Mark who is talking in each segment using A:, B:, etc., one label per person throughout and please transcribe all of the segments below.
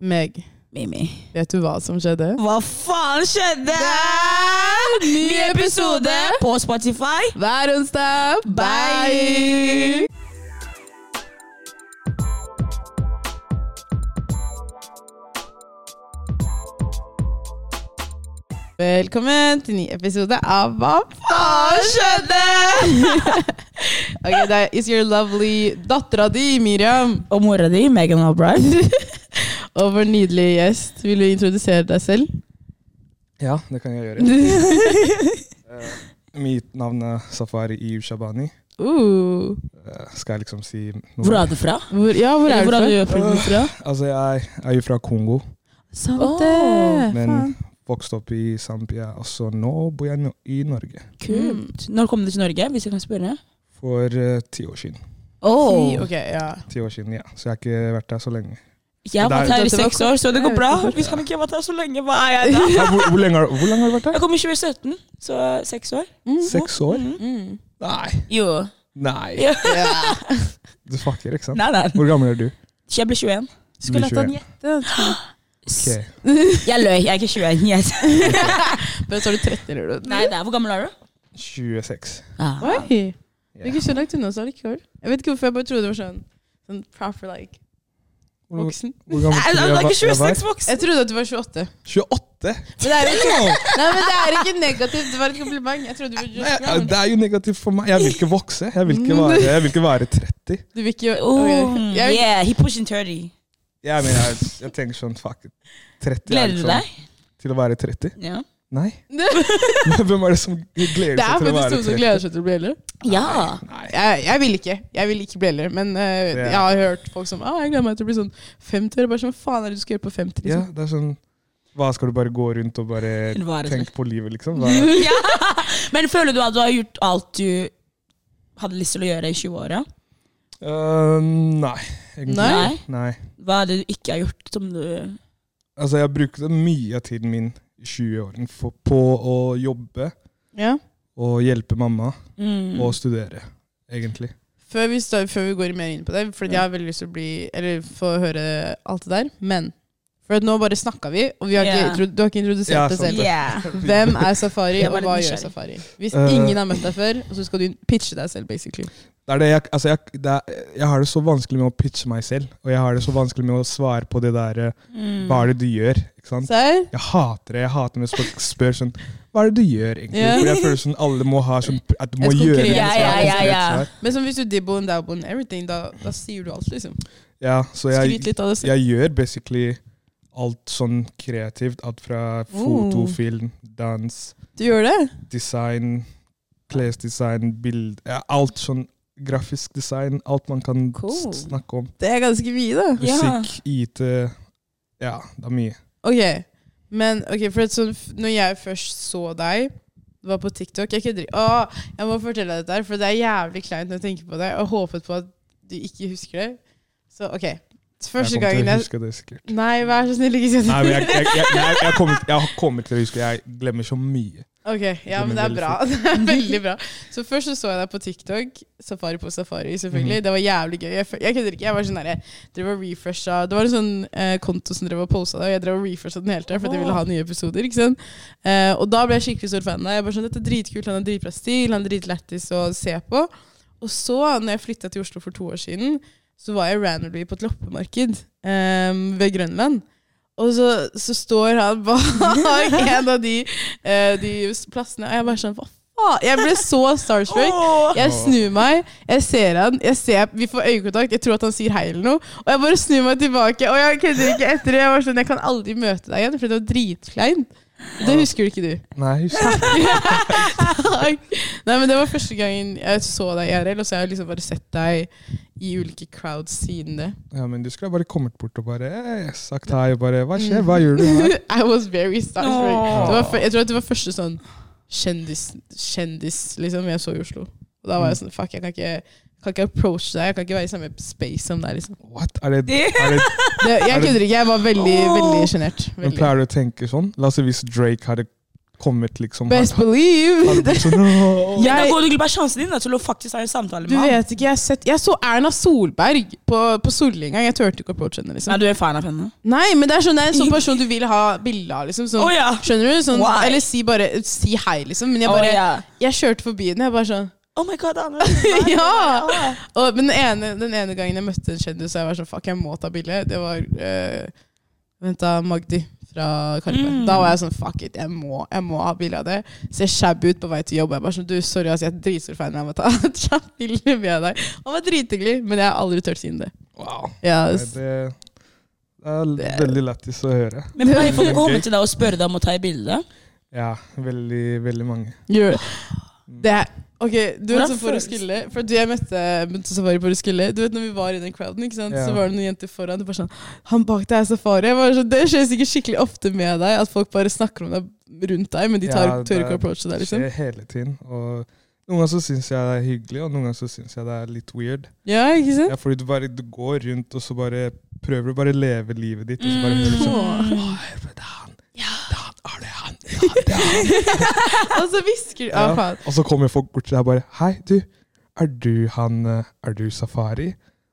A: Meg,
B: Mimi.
A: vet du hva som skjedde?
B: Hva faen skjedde?
A: Det er ny episode
B: på Spotify.
A: Hver onsdag! Bye! Velkommen til ny episode av Hva faen skjedde? ok, det er Is Your Lovely dattera di, Miriam,
B: Og mora di, Megan Albright.
A: og vår nydelige gjest. Vil du introdusere deg selv?
C: Ja, det kan jeg gjøre. Eh, mitt navn er Safari Iyub Shabani.
A: Uh,
C: Eh, skal jeg liksom si noe?
B: Hvor er du fra?
A: hvor, ja, hvor er
B: Eller
A: du fra?
B: er du opprinnelig fra?
C: Altså, jeg er jo fra Kongo,
A: Sant
B: Åh,
C: men vokste opp i Zambia. Altså, nå bor jeg no i Norge.
B: Kult. Mm. Når kom du til Norge, hvis jeg kan spørre?
C: For eh, ti år siden.
A: Ti- Ok, ja.
C: Ti år siden, ja. Så jeg har ikke vært der så lenge.
B: Jeg har
C: Det er-
B: vært her i
A: Det var
B: seks
A: kort.
B: år, så det går
A: Det er
B: bra.
A: kort,
B: Hvis han ikke har vært her så lenge, hva er jeg da?
C: Ja, hvor, hvor, lenge har, hvor lenge har du vært
B: Jeg
C: der?
B: kom i 2017, så seks år.
C: Seks år?
B: Mm.
A: Mm.
C: Nei.
B: Jo.
C: Nei.
B: Ja.
C: Du fucker, ikke sant?
B: Nei, nei.
C: Hvor gammel er du?
B: Jeg ble 21.
A: Skulle hatt han
C: Blir 21.
A: gjettet.
C: Ok.
B: Jeg løy, jeg er ikke 21. Jeg...
A: Men så er du 13 eller noe.
B: Nei, det er, hvor gammel er du?
C: 26.
B: Ah.
A: Oi! Du er
C: Ja.
A: ikke så langt unna, så allikevel. Jeg vet ikke hvorfor, jeg bare trodde det var sånn, sånn proper like,
C: Hvor,
A: voksen.
C: hvor gammel
B: Nei,
C: tror du
B: Han er
C: jeg var-
B: ikke
C: jeg var?
B: 26 voksen.
A: Jeg trodde at du var 28.
C: 28?
A: Men det er ikke, nei, men det er ikke negativt, det var et kompliment. Jeg trodde du var
C: Nei,
A: just
C: ja,
A: around.
C: Det er jo negativt for meg. Jeg vil ikke vokse. Jeg vil ikke være, jeg vil ikke være 30.
A: Du vil ikke gjøre
B: Oh,
A: ok. Jeg-
B: yeah, he pushing 30.
C: Jeg, mener, jeg, jeg tenker sånn fuck it. 30 er
B: Gleder du
C: liksom-
B: deg?
C: Til å være 30?
B: Ja.
C: Nei. Hvem er det som gleder
A: Det er
C: seg til
A: faktisk
C: å være
A: noen som
C: 30?
A: gleder seg Ah. til å bli eldre.
B: ja.
C: Nei.
A: Jeg, jeg vil ikke Jeg vil ikke bli eldre, men eh,
C: Ja.
A: jeg har hørt folk som ah, jeg gleder meg til å bli sånn 50. år». Jeg Bare sånn, faen er det du skal gjøre på 50?
C: Ja,
A: Liksom.
C: det er sånn Hva skal du bare gå rundt og bare
B: Være
C: tenke på livet, liksom? Hva,
B: Men føler du at du har gjort alt du hadde lyst til å gjøre i 20-åra?
C: Øh, nei. Egentlig.
A: Nei?
C: nei.
B: Hva er det du ikke har gjort som du
C: Altså, jeg brukte mye av tiden min i 20-årene for- på å jobbe
A: Ja.
C: og hjelpe mamma
B: mm.
C: og studere, egentlig.
A: Før, vi står, før vi går mer inn på det, for jeg har veldig lyst til å bli Eller få høre alt det der, men For at nå bare snakka vi, og vi har ikke,
B: Ja.
A: intro- du har ikke introdusert
C: Ja,
A: deg
C: sant
A: selv.
B: Yeah.
A: Hvem er Safari,
B: Jeg
A: og
B: var
A: hva
B: litt
A: gjør
B: nysgjerrig.
A: Safari? Hvis
C: Eh,
A: ingen har møtt deg før, og så skal du pitche deg selv, basically.
C: Det er det, jeg, altså jeg, det er, jeg har det så vanskelig med å pitche meg selv, og jeg har det så vanskelig med å svare på det der eh,
B: Mm.
C: Hva er det du gjør? Ikke sant?
A: Serr?
C: Jeg hater det. Jeg hater når folk spør sånn Hva er det du gjør, egentlig?
A: Ja.
C: For jeg føler sånn alle må ha sånn At du må
A: Et konkret
C: gjøre det.
A: Ja,
C: så jeg har
B: ja, ja,
C: konkret
B: ja.
C: svar.
A: Men som hvis du dibboen, dabboen, everything, da, da sier du alt, liksom.
C: ja, så
A: Skryt
C: jeg,
A: litt av det selv.
C: jeg gjør basically alt sånn kreativt. Alt fra foto,
A: Oh.
C: film, dans,
A: Du gjør det?
C: design, klesdesign, bild ja, Alt sånn grafisk design. Alt man kan s-
B: Cool.
C: snakke om.
A: Det er ganske mye, da.
B: Ja.
C: Musikk, IT Ja, det er mye.
A: Ok, men ok, for at sånn, f- når jeg først så deg, det var på TikTok Jeg kødder ikke. Åh, Jeg må fortelle deg dette, her, for det er jævlig kleint når jeg tenker på det. Og håpet på at du ikke husker det. Så ok. Første
C: jeg
A: gangen
C: kommer til
A: jeg
C: å huske det sikkert.
A: Nei, vær så snill, ikke si
C: Nei,
A: det.
C: men jeg, jeg, jeg, jeg, jeg, kommer, til- jeg kommer til å huske Jeg glemmer så mye.
A: Ok, Ja,
C: Den
A: men det
C: er
A: er
C: veldig
A: bra. Det er veldig bra. Så først så, så jeg deg på TikTok. Safari på safari, selvfølgelig.
C: Mhm.
A: Det var jævlig gøy. Jeg, fø- jeg kødder ikke. Jeg var sånn der, jeg drev og refresha Det var en sånn eh, konto som drev og posta det, og jeg drev og refresha den hele tida fordi jeg ville ha nye episoder. ikke sant? Eh, og da ble jeg skikkelig stor fan av deg. Jeg bare sånn, Dette er dritkult, han er dritbra stil, han er dritlættis å se på. Og så, når jeg flytta til Oslo for to år siden, så var jeg randomly på et loppemarked eh, ved Grønland. Og så, så står han bak en av de, eh, de plassene, og jeg bare sånn Hva faen? Jeg ble så starstruck.
B: Åh.
A: Jeg snur meg, jeg ser han, jeg ser, vi får øyekontakt, jeg tror at han sier hei eller noe. Og jeg bare snur meg tilbake, og jeg kødder ikke etter det. Jeg var sånn, jeg kan aldri møte deg igjen, for det var dritkleint. Det husker ikke du.
C: Nei, jeg husker
A: Takk. Nei, men Det var første gangen jeg så deg IRL, og så har jeg liksom bare sett deg i ulike crowds siden det.
C: ja, men Du skulle bare kommet bort og bare eh, sagt hei og bare Hva skjer? Hva gjør du her?
A: I was very starstruck.
B: Åh.
A: Det var fø- Jeg tror at det var første sånn kjendis, kjendis liksom, jeg så i Oslo. Og da var jeg sånn Fuck, jeg kan ikke, kan ikke approache deg. Jeg kan ikke være i samme space som deg. liksom.
C: What? Er det, er det,
A: Det, jeg
C: Er det-
A: kødder ikke. Jeg var veldig
B: Åh.
A: veldig sjenert.
C: men
A: Veldig.
C: pleier du å tenke sånn? La oss si hvis Drake hadde kommet, liksom.
A: Best
C: har- har
A: believe!
C: det blitt sånn, «Åh».
B: Men da
A: Jeg-
B: går du glipp av sjansen din da, til å faktisk ha en samtale
A: Du
B: med ham.
A: vet ikke, jeg, har sett, jeg så Erna Solberg på, på Solli en gang. Jeg turte ikke å approache henne.
B: Nei,
A: liksom.
B: du er fan av henne.
A: Nei, men det er sånn, det er en sånn person du vil ha bilde av. liksom. Sånn,
B: Å, ja.
A: Skjønner du? Sånn,
B: Why?
A: eller si bare si hei, liksom. Men jeg
B: Å,
A: bare,
B: ja.
A: jeg kjørte forbi henne. jeg bare sånn,
B: Oh my god, Anna.
A: Ja! Og, men den ene, den ene gangen jeg møtte en kjendis, og jeg var sånn Fuck, jeg må ta bilde. Det var eh, Vent da, Magdi fra Karpe.
B: Mm.
A: Da var jeg sånn Fuck it, jeg må, jeg må ha bilde av det. Ser shabby ut på vei til jobb. Jeg bare sånn Du, sorry, ass, jeg er dritstor fan. Jeg må ta et kjapt bilde med deg. Han var drithyggelig, men jeg har aldri turt si det.
C: sånn, Wow.
A: Ja,
C: Nei,
A: s-
C: det, det er veldig lættis å høre.
B: Men pleier folk å komme til deg og spørre deg om å ta et bilde?
C: Ja, veldig, veldig mange.
A: gjør det.
C: Mm.
A: Det er Ok, du vet
B: Hvordan
A: sånn for
B: føles-
A: Roskilde For du jeg møtte møtte Safari på Roskilde Du vet når vi var i den crowden, ikke sant?
C: Ja.
A: Så var det noen jenter foran Det var sånn Han bak deg er Safari Jeg var sånn, Det skjer sikkert skikkelig ofte med deg At folk bare snakker om deg rundt deg Men de tar,
C: Ja, det
A: tør ikke å approache deg liksom
C: skjer hele tiden. Og noen ganger så syns jeg det er hyggelig, og noen ganger så syns jeg det er litt weird.
A: Ja, ikke sant?
C: Ja, fordi du bare du går rundt og så bare prøver å bare leve livet ditt. Og så bare
B: Mm.
C: hører du sånn
A: Åh. Og så visker du ah,
C: Ja.
A: faen
C: Og så kommer folk bort til deg og bare Hei, du. Er du han eh, Er du Safari?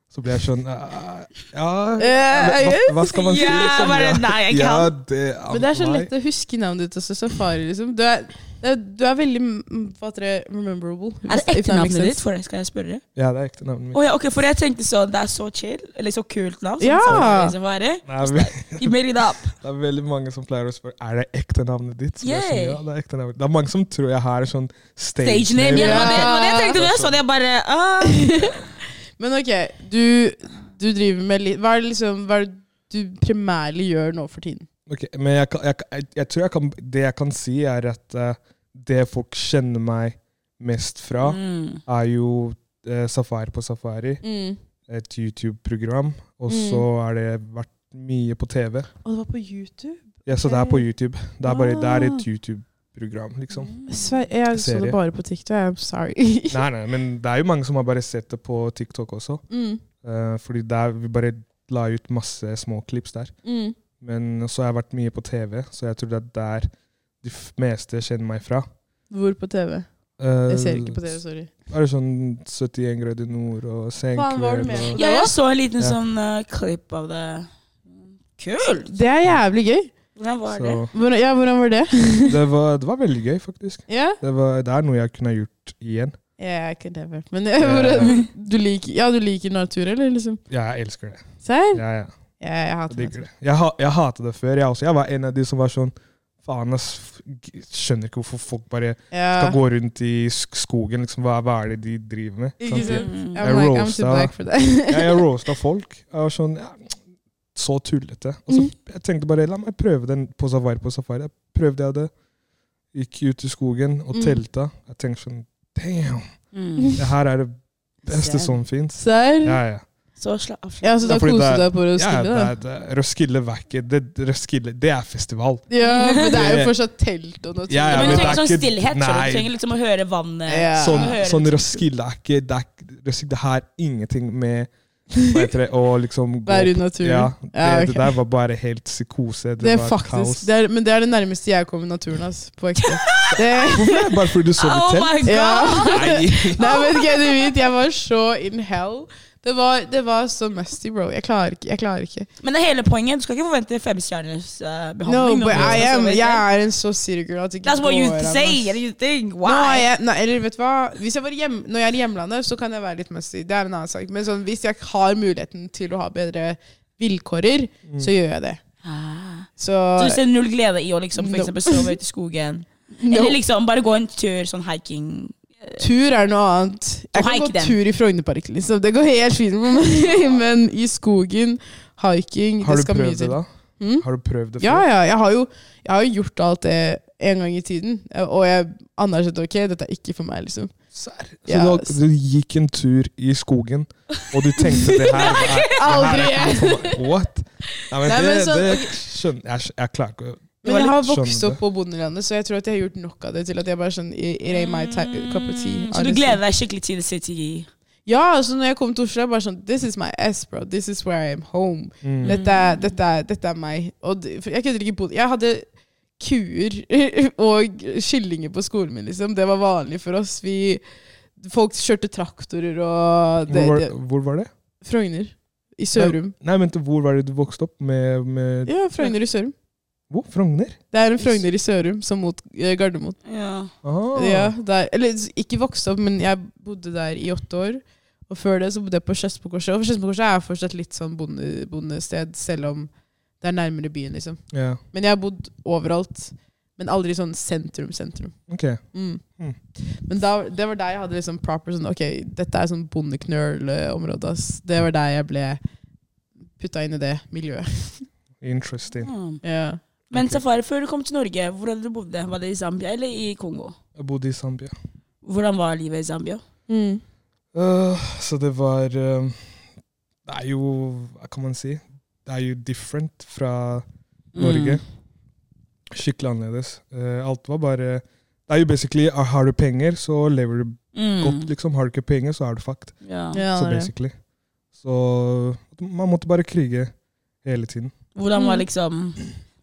C: Så blir jeg sånn eh, Ja
A: Eh,
C: hva, hva skal man si?
B: Ja,
C: liksom?
B: bare, nei, jeg
C: ja,
B: kan.
C: det er
A: Men det er så
C: meg.
A: lett å huske navnet ditt også Safari liksom Du er, det er, du er veldig mm, Hva heter det? Rememberable
B: Er
A: if
B: det
A: that makes
B: ektenavnet
A: sense.
B: ditt? For det skal jeg spørre.
C: Ja, det er ekte navnet mitt.
B: Å ja, ok, for jeg tenkte sånn, det er så chill, eller så kult navn.
A: Ja.
B: Sånn, som det er.
C: Nei, men,
B: You made it up.
C: det er veldig mange som pleier å spørre Er det ekte navnet ditt. Så blir jeg sånn,
B: Yay.
C: ja, det er ekte navnet mitt. Det er mange som tror jeg har sånn stage,
B: Stage name, ja, det var det, det var det jeg tenkte. men Jeg så det, jeg bare ah.
A: Men ok, du, du driver med litt Hva er det liksom Hva er det du primærlig gjør nå for tiden?
C: Ok, men jeg, kan- jeg, kan- jeg, jeg tror jeg kan, det jeg kan si, er at eh, det folk kjenner meg mest fra,
B: Mm.
C: er jo eh, Safari på Safari,
A: Mm.
C: et YouTube-program. Og så har det vært mye på TV.
A: Og det var på YouTube?
C: Ja, så det er på YouTube. Det er, bare, det er et
A: Mm. Ah.
C: YouTube-program, liksom.
A: Sver jeg så
C: Serie.
A: det bare på TikTok. I'm sorry.
C: Nei, nei, men det er jo mange som har bare sett det på TikTok også.
A: mm.
C: Eh, fordi der vi bare la ut masse små klips der.
A: Mm.
C: Men så har jeg vært mye på TV, så jeg tror det er der de f meste kjenner meg fra.
A: Hvor på TV?
C: Eh,
A: Jeg ser ikke på TV, sorry.
C: Er det sånn 71 grader nord og
A: Faen, var du med på
C: senkveld
A: det?
C: og
B: Ja, jeg så en liten
C: Ja.
B: sånn eh, klipp av det. Kult!
A: Det er jævlig gøy.
B: Hvordan var det?
C: så
A: Hvordan, ja, hvordan var det?
C: det var, det var veldig gøy, faktisk.
A: Ja?
C: Det, var, det er noe jeg kunne ha gjort igjen.
A: Jeg kan det vel. Men eh, hvordan, du liker, ja, du liker natur, eller liksom?
C: Ja, jeg elsker det.
A: Serr?
C: Ja, ja.
A: Ja, jeg
C: Jeg
A: hater
C: digger
A: natur.
C: det. Jeg, ha- jeg hatet det før. Jeg, også, jeg var en av de som var sånn Faen, ass. f- g- Skjønner ikke hvorfor folk bare skal
A: Ja.
C: gå rundt i sk- skogen. Liksom, hva, hva er det de driver med? Sånn,
A: Ikke sant?
C: Sant?
B: Mm.
A: I'm like, I'm
C: roasta.
A: too black for that.
C: Jeg, jeg roasta folk. Jeg var sånn ja, Så tullete. Og
A: Mm.
C: så jeg tenkte bare la meg prøve den på safari på safari. Jeg prøvde jeg det. Gikk ut i skogen og
A: Mm.
C: telta. Jeg tenkte sånn Damn!
B: Mm.
C: Det her er det beste
B: Serr.
C: som fins.
A: Serr?
C: Ja, ja.
B: Så slapp av.
A: Ja, så
C: Ja,
A: da
C: fordi det
A: koste
C: er-
A: du deg på å
C: ja
A: skille,
C: det
A: da?
C: er, det er, Roskilde var ikke det, Roskilde, det er festival.
A: Ja, men det er
C: Det-
A: jo fortsatt telt og natur.
C: Ja, ja,
B: men
C: men
B: du
C: det er
B: trenger sånn
C: ikke-
B: stillhet. så
C: nei.
B: Du trenger liksom å høre vannet.
A: Ja.
C: Sånn,
B: Hører
C: sånn
B: liksom-
C: Roskilde er ikke Det, er, ikke- Roskilde har ingenting med hva heter det, å liksom gå
A: Være i
C: på-
A: naturen.
C: Ja, det,
A: Ja,
C: det
A: ok.
C: der var bare helt psykose. Det,
A: det er
C: var
A: faktisk,
C: kaos.
A: det er, men det er det nærmeste jeg kommer naturen, ass. På ekte. Det,
C: Hvorfor det? Bare fordi du sov i
B: Oh
C: telt?
B: my god!
A: ja.
C: Nei.
A: Nei, men ikke du vet, jeg var så in hell. Det var, det var så musty, bro. Jeg klarer ikke. Jeg klarer ikke.
B: Men det er hele poenget. Du skal ikke forvente femstjerners eh,
A: No,
B: behandling.
A: but
B: når du
A: I
B: skal
A: am,
B: sove i telt.
A: jeg er en så city girl at det ikke
B: That's what you
A: går an, ass.
B: say and you think.
A: Nå er
B: Why?
A: jeg, nei, eller vet du hva? Hvis jeg var hjem, når jeg er i hjemlandet, så kan jeg være litt musty. Det er en annen sak. Men sånn, hvis jeg har muligheten til å ha bedre vilkårer,
C: Mm.
A: så gjør jeg det.
B: Ah.
A: Så,
B: Så du ser null glede i å liksom, for
A: No.
B: eksempel, sove ute i skogen?
A: no.
B: Eller liksom bare gå en tur, sånn hiking?
A: Tur er noe annet. Jeg kan
B: hike
A: gå
B: den.
A: tur i Frognerparken, liksom. Det går helt fint med meg. Men i skogen, hiking
C: Har
A: det
C: du
A: skal mye
C: prøvd det,
A: til.
C: da?
A: Mm?
C: Har du prøvd det før?
A: Ja, ja. Jeg har, jo, jeg har jo gjort alt det en gang i tiden. Og jeg anerkjente ok, dette er ikke for meg, liksom.
C: Serr? Så
A: Ja.
C: du, du gikk en tur i skogen, og du tenkte det her det her-
A: Aldri!
C: det her er ikke for meg. What? Nei, men
A: Nei, men
C: det,
A: sånn,
C: det skjønner jeg. skj- Jeg klarer ikke å
A: Men jeg har vokst
C: skjønner
A: opp på bondelandet, så jeg tror at jeg har gjort nok av det til at jeg bare sånn It it ain't my type, uh, cup of tea.
B: Så du
A: honestly.
B: gleder deg skikkelig til the city?
A: Ja, altså når jeg kom til Oslo, jeg bare sånn This is my S, bro. This is where I am home.
C: Mm.
A: Dette, er- dette, er- dette er meg. Og det- for jeg kødder ikke bo Jeg hadde kuer og kyllinger på skolen min, liksom. Det var vanlig for oss. Vi, folk kjørte traktorer og det,
C: Hvor var,
A: det,
C: hvor var det?
A: Frogner. I Sørum.
C: Nei, men til hvor var det du vokste opp? Med, med
A: Ja, Frogner i Sørum.
C: Hvor? Frogner?
A: Det er en Frogner i Sørum som mot eh, Gardermoen.
B: Ja.
C: Ah.
A: Ja, der, eller s- ikke vokste opp, men jeg bodde der i åtte år. Og før det så bodde jeg på Skedsmokorset. Og Skedsmokorset er fortsatt litt sånn bonde, bondested, selv om det er nærmere byen, liksom.
C: Ja,
A: Men jeg har bodd overalt. Men aldri sånn sentrum-sentrum.
C: ok.
A: Mm.
C: Mm.
A: Men da, det var der jeg hadde liksom proper sånn Ok, dette er sånn bondeknøl-område, ass. Det var der jeg ble putta inn i det miljøet.
C: Interesting.
B: Mm.
A: Ja.
B: Men
C: Ok.
B: safari, før du kom til Norge, hvor hadde du bodd? Var det i Zambia eller i Kongo?
C: Jeg bodde i Zambia.
B: Hvordan var livet i Zambia?
A: Mm.
C: Øh, så det var øh, Det er jo Hva kan man si? Det er jo different fra
B: Mm.
C: Norge. Skikkelig annerledes. Eh, alt var bare Det er jo basically ah, Har du penger, så lever du
B: Mm.
C: godt, liksom. Har du ikke penger, så er du fucked.
B: Ja.
A: Ja, det
C: Så
A: er det.
C: basically. Så man måtte bare krige hele tiden.
B: Hvordan var
A: Mm.
B: liksom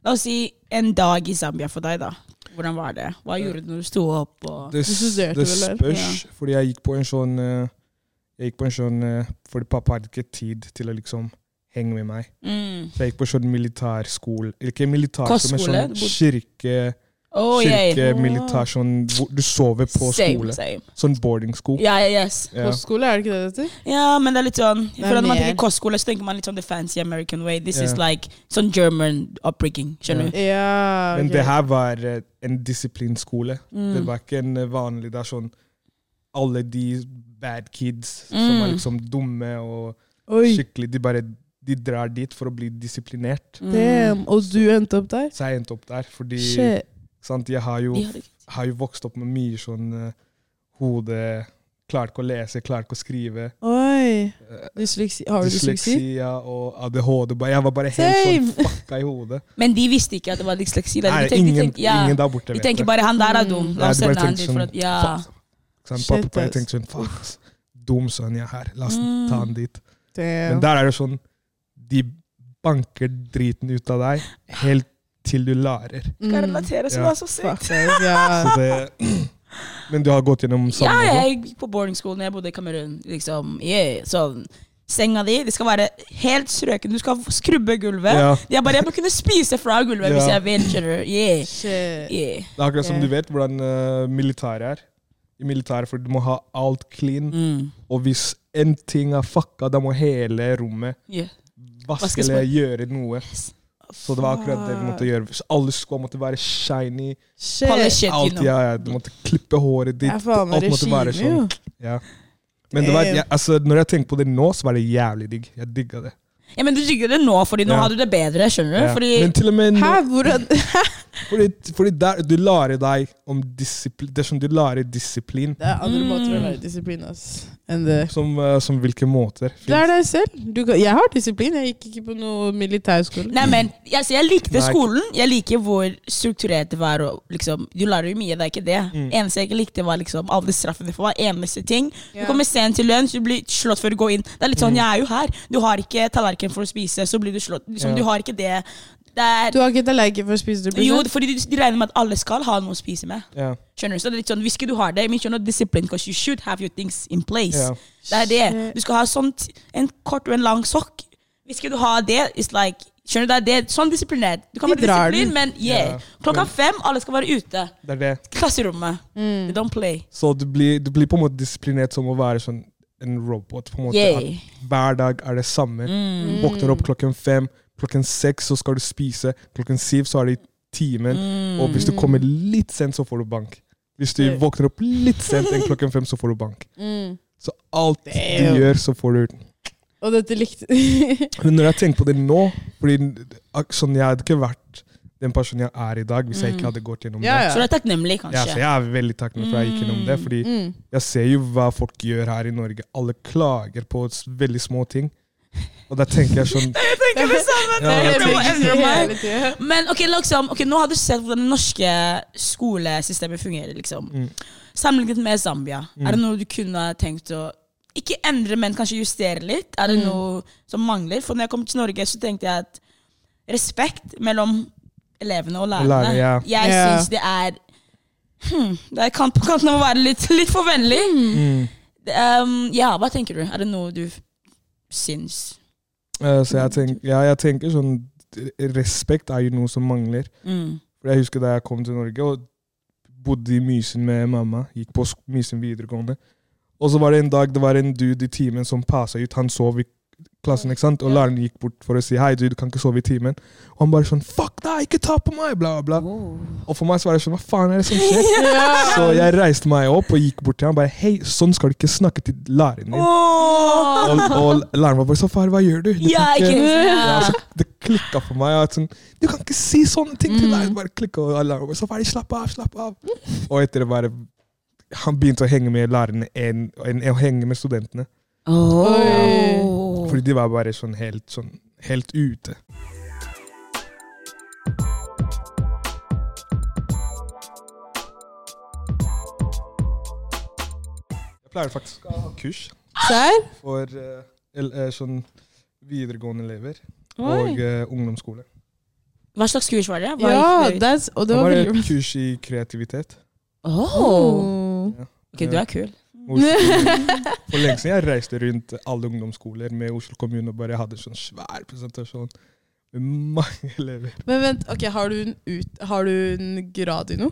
B: La oss si en dag i Zambia for deg, da. Hvordan var det? Hva gjorde du når du sto opp? Og...
C: Det,
A: Du studerte
C: det
A: vel der?
C: spørs, fordi jeg gikk på en sånn eh, Jeg gikk på en sånn eh, Fordi pappa hadde ikke tid til å liksom henge med meg.
B: Mm.
C: Så jeg gikk på sånn militærskole Eller ikke militær, men
B: Kostskole?
C: sånn kirke,
B: Oh, yeah.
C: kirkemilitær sånn, hvor Du sover på
B: same,
C: skole.
B: same.
C: Sånn boarding school.
B: Ja, ja, yes.
C: Ja.
A: Kostskole, er det ikke det det heter?
B: ja, men det er litt sånn
A: er
B: For Når
A: mer.
B: man tenker kostskole, så tenker man litt sånn the fancy American way. This is
C: Ja.
B: like sånn German upbringing. Skjønner du?
A: Ja,
C: Men
A: ok.
C: det her var eh, en disiplinskole. Det
B: Mm.
C: var ikke en eh, vanlig Det er sånn alle de bad kids som
B: Mm.
C: er liksom dumme og
A: Oi,
C: skikkelig De bare de drar dit for å bli disiplinert.
B: Mm.
A: damn. Og du endte opp der?
C: Så jeg endte opp der, fordi
A: Shit.
C: sant, jeg har jo,
B: De hadde-
C: har jo vokst opp med mye sånn eh, hode Klarer ikke å lese, klarer ikke å skrive.
A: Oi.
C: eh,
A: Dysleksi. Har du dysleksi?
C: dysleksia og ADHD. Bare- Jeg var bare helt
A: Same!
C: sånn fucka i hodet.
B: Men de visste ikke at det var dysleksi. da.
C: Nei,
B: de tenk- de
C: ingen,
B: tenk- ja.
C: ingen der borte
B: de
C: vet
B: tenker
C: det.
B: bare 'han der er dum'.
C: Nei,
B: La oss
C: de bare
B: sende han
C: tenker
B: dit. For
C: sånn,
B: at, ja.
A: Mm.
C: Fuck. Ikke sant?
A: Shit,
C: Pappa bare
A: ass.
C: tenkte sånn Fuck, ass. dum sønn jeg er her. La oss
B: Mm.
C: ta han dit. Men
A: Damn.
C: der er det sånn De banker driten ut av deg helt til du lærer.
B: Kan
A: Mm.
B: relatere, så
C: Ja.
B: det var så sykt.
A: Fuck, ass, ja.
C: Så det, sånn men du har gått gjennom
B: Ja,
C: samme
B: jeg gikk på boarding school når jeg bodde i Kamerun. Liksom, yeah. sånn. Senga di det skal være helt strøken. Du skal skrubbe gulvet.
C: Ja,
B: Jeg bare, jeg må kunne spise fra gulvet hvis
C: Ja.
B: jeg vil. skjønner du? Yeah.
A: Shit.
B: Yeah.
C: det er akkurat som
A: Ok.
C: du vet hvordan eh, militæret er. I militæret, for du må ha alt clean.
B: Mm.
C: Og hvis en ting er fucka, da må hele rommet
B: yeah.
C: vaske
B: Vaskes på.
C: eller gjøre noe. Så det var akkurat det vi måtte gjøre. Så alle skoene måtte være shiny.
B: Alle
A: Shit.
B: shit, you
C: Alt,
B: know.
C: ja, ja. Du måtte klippe håret
A: Det
C: ditt.
A: er faen meg
C: alt måtte være
A: regime, jo.
C: Ja. Men det var,
B: Eh.
A: Damn.
C: ja, altså, når jeg tenker på det nå, så var det jævlig digg. Jeg digga det.
B: Ja, men du digger det nå, Fordi nå
C: Ja.
B: har du det bedre. skjønner du?
C: Ja.
B: Fordi,
C: Men til og med nå,
A: Hæ, hvordan
C: fordi, fordi der, du lærer deg om disiplin Det er som du lærer disiplin.
A: Det er andre
B: Mm.
A: måter å lære disiplin ass, enn det.
C: Som, eh, som hvilke måter.
A: Lær deg selv. Du kan, jeg har disiplin. Jeg gikk ikke på noe militærskole.
B: Nei, men altså, Jeg likte
C: Nei.
B: skolen. Jeg liker hvor strukturert det var. Og, liksom, du lærer jo mye, det er ikke det.
C: Mm.
B: Eneste jeg ikke likte, var liksom, alle straffene for hver eneste ting. Du
A: Ja.
B: kommer sent til lunsj, du blir slått før du går inn. Det er litt sånn,
C: Mm.
B: jeg er jo her. Du har ikke tallerken for å spise, så blir du slått. Liksom,
C: Ja.
B: Du har ikke det. det er,
A: Du har ikke tallerken for å spise du blir
B: jo,
A: sett.
B: fordi de, de regner med at alle skal ha noe å spise med.
C: Ja,
B: Skjønner du? Så det er litt sånn, Hvis ikke du har det, men skjønner du, disiplin, because you should have your things in place.
C: ja.
B: Det er det.
A: Shit.
B: Du skal ha sånt, en kort og en lang sokk. Hvis ikke du har det, it's like Skjønner du, det er det. Sånn disiplinert. Du kan
A: Vi
B: være
A: drar
B: disiplin,
A: den.
B: men yeah.
C: Ja, Mm.
B: Klokka
C: men-
B: fem, alle skal være ute.
C: Det er det.
B: Klasserommet.
A: Mm.
B: They Don't play.
C: Så du blir, du blir på en måte disiplinert som å være sånn en robot. på en måte.
B: Yeah.
C: At hver dag er det samme.
B: Mm.
C: Du våkner opp klokken fem, klokken seks så skal du spise, klokken syv så er det i timen.
B: Mm.
C: Og hvis du kommer litt sent, så får du bank. Hvis du
A: Ja.
C: våkner opp litt sent enn klokken fem, så får du bank.
A: Mm.
C: Så alt
A: Damn.
C: du gjør, så får du
A: Og dette likte mm.
C: Men når jeg tenker på det nå fordi ak- sånn, Jeg hadde ikke vært den personen jeg er i dag, hvis jeg ikke hadde gått gjennom
A: Ja, ja.
B: Så
C: det.
B: du er takknemlig,
C: Ja, så
B: kanskje.
C: jeg er veldig takknemlig for at jeg gikk gjennom det. Fordi
A: Mm.
C: jeg ser jo hva folk gjør her i Norge. Alle klager på s- veldig små ting. Og da tenker jeg sånn
B: Jeg tenker det samme.
C: Ja,
B: jeg
C: jeg
B: må endre meg.
A: Hele tiden.
B: Men ok, liksom, ok, nå har du sett hvordan det norske skolesystemet fungerer. liksom.
C: Mm.
B: Sammenlignet med Zambia, er det noe du kunne tenkt å ikke endre, men kanskje justere litt? Er
C: Mm.
B: det noe som mangler? For når jeg kom til Norge, så tenkte jeg at respekt mellom elevene og
C: Og
B: lærerne.
C: lærere, ja.
B: Jeg
A: Ja.
B: syns det er hmm, Det er kant på kanten av å være litt, litt for vennlig.
C: Mm.
B: Det, Um, ja, hva tenker du? Er det noe du syns?
C: Eh, så jeg, tenk, ja, jeg tenker sånn Respekt er jo noe som mangler.
B: Mm.
C: For Jeg husker da jeg kom til Norge og bodde i Mysen med mamma. Gikk på sk- Mysen videregående. Og så var det en dag det var en dude i timen som passa ut. Han sov i klassen, ikke sant? og læreren gikk bort for å si 'hei, du, du kan ikke sove i timen'. Og han bare sånn 'fuck deg, ikke ta på meg', bla, bla. bla. Og for meg så var det sånn 'hva faen er det som skjer'? Så jeg reiste meg opp og gikk bort til ham bare 'hei, sånn skal du ikke snakke til læreren din'.
B: Åh!
C: Og, og læreren var bare 'så far, hva gjør du?' du
B: Ja,
C: kan
B: ikke
C: ja,
B: sant?
C: altså, det klikka for meg. At sånn, du kan ikke si sånne ting til
A: Mm.
C: deg! Bare klikka, og alle var så ferdig, slapp av, slapp av. Og etter det bare Han begynte å henge med lærerne enn enn å henge med studentene.
B: Åh.
A: Mm.
C: Fordi de var bare sånn helt, sånn, helt ute. Jeg pleier faktisk å ha kurs
A: Serr?
C: for eh, el- eh, sånn videregående elever
A: Oi.
C: og eh, ungdomsskole.
B: Hva slags kurs var det? Hva
A: Ja,
B: gikk dere-
A: that's, og det
C: Det
A: var
C: var
A: veldig
C: et kurs i kreativitet.
B: Åh. Ok, du er kul.
C: Oslo. For lenge siden jeg reiste rundt alle ungdomsskoler med Oslo kommune og bare hadde sånn svær presentasjon med mange elever.
A: Men vent, ok, har du en, ut, har du en grad i noe?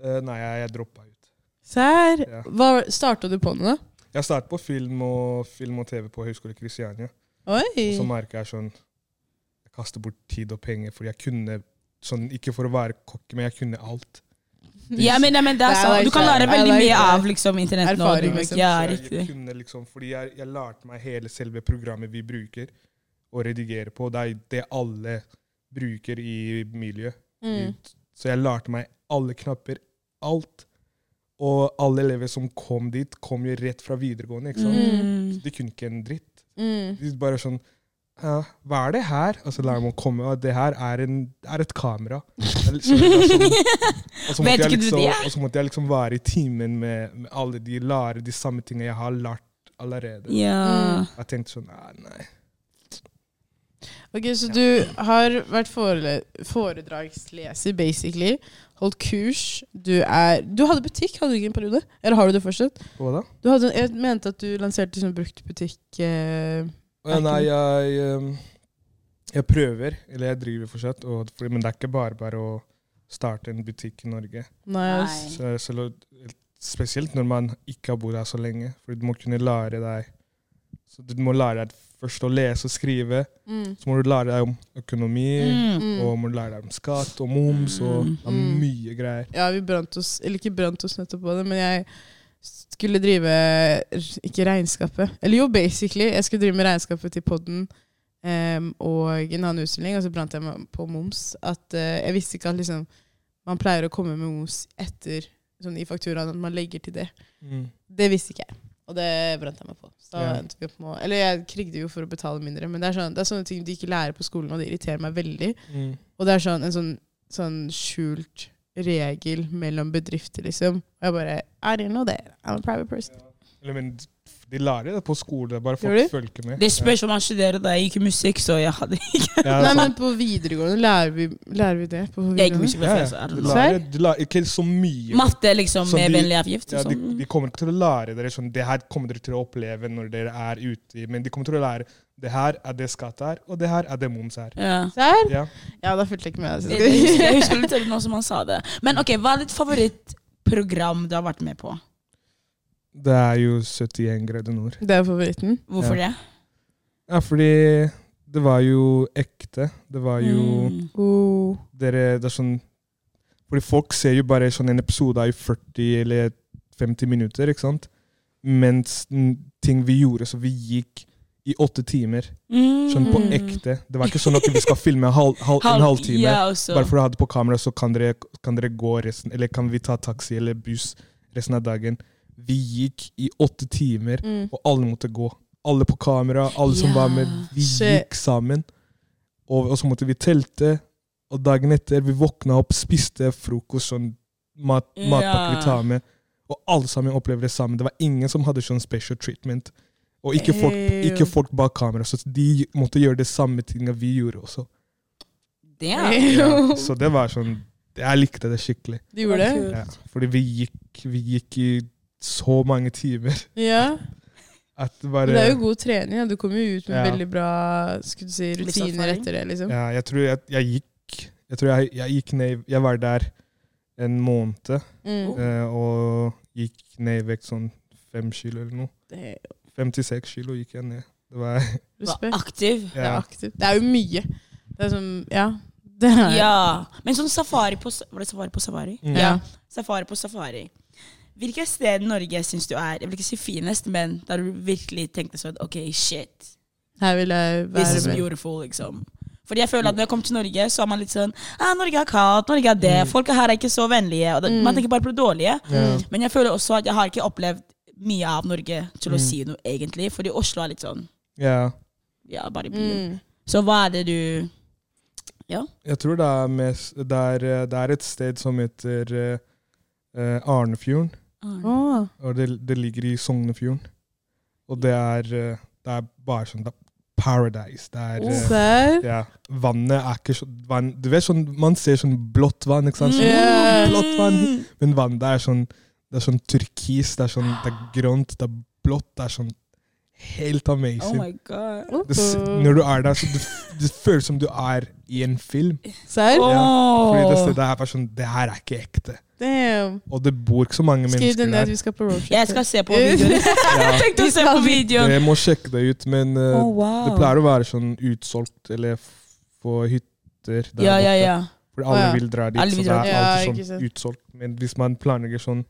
C: Eh, nei, jeg, jeg droppa ut.
A: Serr?
C: Ja.
A: Hva Starta du på med det?
C: Jeg startet på film og, film og TV på Høgskolen i Kristiania. Og så
A: Oi.
C: merka jeg sånn Jeg kaster bort tid og penger fordi jeg kunne sånn, Ikke for å være kokk, men jeg kunne alt.
B: Ja, men, ja, men det er
A: Jeg
B: sant. Du
A: liker
B: kan lære
A: det. Jeg
B: veldig
A: liker
B: mye
A: det.
B: av liksom, internett nå.
A: Erfaring,
B: du-
A: liksom.
B: Ja,
C: Så jeg,
B: riktig.
C: kunne liksom, fordi jeg, jeg lærte meg hele selve programmet vi bruker å redigere på. Det er det alle bruker i miljøet.
A: Mm.
C: Så jeg lærte meg alle knapper, alt. Og alle elever som kom dit, kom jo rett fra videregående. ikke sant?
B: Mm.
C: De kunne ikke en dritt.
A: Mm.
C: De bare sånn «Hæ, Hva er det her? Og så lærer man å komme, og det her er, en, er et kamera. Så det var sånn- og
B: Vet
C: så måtte jeg
B: ikke du
C: liksom,
B: det?
C: og så måtte jeg liksom være i timen med, med alle de lærere, de samme tingene jeg har lært allerede.
B: Ja.
A: Mm.
C: Jeg tenkte sånn «Ah, Nei.
A: Ok, Så du har vært forele foredragsleser, basically. Holdt kurs. Du er Du hadde butikk, hadde du ikke en periode? Eller har du det fortsatt?
C: Hva da?
A: Du hadde, jeg mente at du lanserte sånn bruktbutikk eh,
C: Ja, nei, jeg, ehm, jeg prøver, eller jeg driver fortsatt, og, fordi- men det er ikke bare bare å starte en butikk i Norge.
A: Nice.
C: Så, så, lo- spesielt når man ikke har bodd her så lenge, for du må kunne lære deg så Du må lære deg først å lese og skrive,
A: Mm.
C: så må du lære deg om økonomi,
B: Mm.
A: Mm.
C: og må du lære deg om skatt og moms, og det er
A: Mm.
C: mye greier.
A: Ja, vi brant oss Eller ikke brant oss nettopp på det, men jeg skulle drive r- Ikke regnskapet. Eller jo, basically. Jeg skulle drive med regnskapet til podden em, og en annen utstilling, og så brant jeg meg på moms. At eh, Jeg visste ikke at liksom man pleier å komme med moms etter sånn i fakturaen, at man legger til det.
C: Mm.
A: Det visste ikke jeg. Og det brant jeg meg på. Så da
C: Ja.
A: endte vi opp med å Eller jeg krigde jo for å betale mindre, men det er, sånn, det er sånne ting de ikke lærer på skolen, og det irriterer meg veldig.
C: Mm.
A: Og det er sånn, en sånn, sånn skjult regel mellom bedrifter, liksom. Og jeg bare I didn't know that. I'm a private person.
C: Eller, men de lærer det på skole, det er bare folk
A: Gjør de?
C: følger med.
B: Det spørs om man studerer da jeg gikk i musikk, så jeg hadde
C: Ja, ja,
A: Nei,
C: sant.
A: men på videregående lærer vi, lærer vi det. På
B: Jeg gikk i
A: videregående.
B: musikk
C: ja,
B: fra før, så
C: ja.
B: er
C: De
B: det noe.
C: lærer, de lærer ikke så mye.
B: Matte, liksom,
C: Som
B: med
C: de-
B: vennlig avgift
C: Ja,
B: og
C: de,
B: sånn.
C: de kommer ikke til å lære dere sånn Det her kommer dere til å oppleve når dere er ute, i- men de kommer til å lære det her er det skatt er, og det her er det moms er.
B: Ja.
A: Serr?
C: Ja.
A: Ja, da fulgte jeg ikke med. altså.
B: Jeg husker- jeg
A: Jeg
B: husker litt av det nå som han sa det. Men ok, hva er ditt favorittprogram du har vært med på?
C: Det er jo 71 grader nord.
A: det er favoritten.
B: Hvorfor det?
C: Ja, fordi det var jo ekte. Det var jo
B: Mm.
A: Oh.
C: dere, Det er sånn Fordi folk ser jo bare sånn en episode er jo 40 eller 50 minutter, ikke sant? Mens n- ting vi gjorde, så vi gikk i åtte timer. Sånn på
B: Mm.
C: ekte. Det var ikke sånn at vi skal filme hal, hal,
B: Halv-
C: en halvtime.
B: Ja, også.
C: Bare for å ha det på kamera, så kan dere, kan dere gå resten Eller kan vi ta taxi eller buss resten av dagen. Vi gikk i åtte timer,
A: Mm.
C: og alle måtte gå. Alle på kamera, alle som
B: Ja.
C: var med. Vi
A: Shit.
C: gikk sammen. Og, og så måtte vi telte. Og dagen etter, vi våkna opp, spiste frokost, sånn mat,
B: Ja.
C: matpakke vi tar med. Og alle sammen opplevde det samme. Det var ingen som hadde sånn special treatment. Og ikke folk,
A: Ew.
C: ikke folk bak kamera, så de måtte gjøre det samme tinga vi gjorde også.
B: Damn.
C: Ja, så det var sånn Jeg likte det skikkelig.
A: Du gjorde det?
B: Kult.
C: Ja, fordi vi gikk, vi gikk i så mange timer
A: Ja.
C: at det
A: Men
C: bare
A: det er jo god trening. da. Du kommer jo ut med
C: Ja.
A: veldig bra skulle du si, rutiner
B: Livserfaring.
A: etter det. liksom.
C: ja, Jeg tror jeg, jeg gikk Jeg tror jeg, jeg gikk ned Jeg var der en måned
B: Oh.
A: Mm.
C: eh, og gikk ned i vekt sånn fem kilo eller noe.
A: Det er jo
C: 56 kilo gikk jeg ned. Det var
B: Var
A: Respekt.
B: aktiv.
A: Det er
C: ja.
A: aktivt. Det er jo mye. Det er som Ja. Det er,
B: Ja. Men sånn safari på Var det safari på safari?
C: Mm.
A: ja.
B: Safari på safari. Hvilke steder i Norge syns du er Jeg vil ikke si finest, men der du virkelig tenkte sånn OK, shit.
A: Her vil jeg
B: This
A: være
B: is
A: med.
B: beautiful, liksom. Fordi jeg føler at når jeg kom til Norge, så er man litt sånn ah, Norge er kaldt, Norge er
A: Mm.
B: det, folk her er ikke så vennlige. Og det, Man tenker bare på det dårlige.
C: Ja.
B: Men jeg føler også at jeg har ikke opplevd mye av Norge til
A: Mm.
B: å si noe, egentlig. Fordi Oslo er litt sånn
C: ja.
B: Ja, bare byen.
A: Mm.
B: Så hva er det du Ja?
C: Jeg tror det er, mest, det er, eh, det er et sted som heter eh, eh, Arnefjorden.
A: Åh.
C: Og det, det ligger i Sognefjorden. Og det er, eh, det er bare sånn det er paradise. Det er
A: oh,
C: eh,
A: Serr?
C: Ja, vannet er ikke sånn vann, Du vet sånn, man ser sånn blått vann, ikke
B: Mm.
C: sant? Sånn,
A: Yeah.
C: «Åh, blått vann. Men vannet det er sånn Det er sånn turkis, det er sånn Det er grønt, det er blått, det er sånn Helt
B: Oh
C: amazing.
B: my god.
C: det, s- når du er der, så du, f- det føles som du er i en film.
A: Serr?
C: Ja, Fordi det
B: Åh.
C: stedet her er sånn Det her er ikke ekte.
A: Damn.
C: Og det bor ikke så mange
A: Skriv det
C: mennesker
A: ned at
C: der.
A: vi skal på roadtrip.
B: Jeg skal se på videoen. Jeg tenkte å se på videoen.
C: Jeg må sjekke det ut, men eh,
B: Oh, wow.
C: det pleier å være sånn utsolgt eller f- få hytter der
B: Ja, ja,
C: borte.
B: ja.
C: For
A: Å,
C: alle
A: ja.
C: vil dra dit,
B: Alle
C: så
B: vil
C: det
B: dra
C: er
A: dit. Ja,
C: alltid
A: ikke sant.
C: sånn utsolgt. Men hvis man planlegger sånn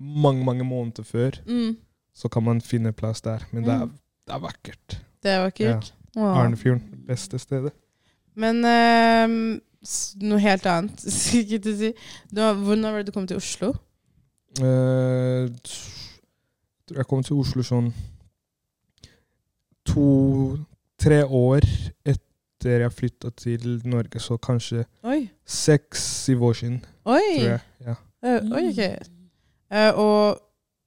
C: mange, mange måneder før,
A: Mm.
C: så kan man finne plass der. Men det er,
A: Mm.
C: det er vakkert.
A: Det var kult. Åh.
C: Arnefjorden, beste stedet.
A: Men ehm, s- noe helt annet, skulle jeg til å si. Du, har- hvordan var det du kom til Oslo?
C: Eh, tror jeg kom til Oslo sånn to-tre år etter jeg flytta til Norge, så kanskje
A: Oi.
C: seks-syv år siden, tror
A: Oi,
C: jeg. Ja.
A: Eh, oi
B: Mm.
A: ok. Eh, og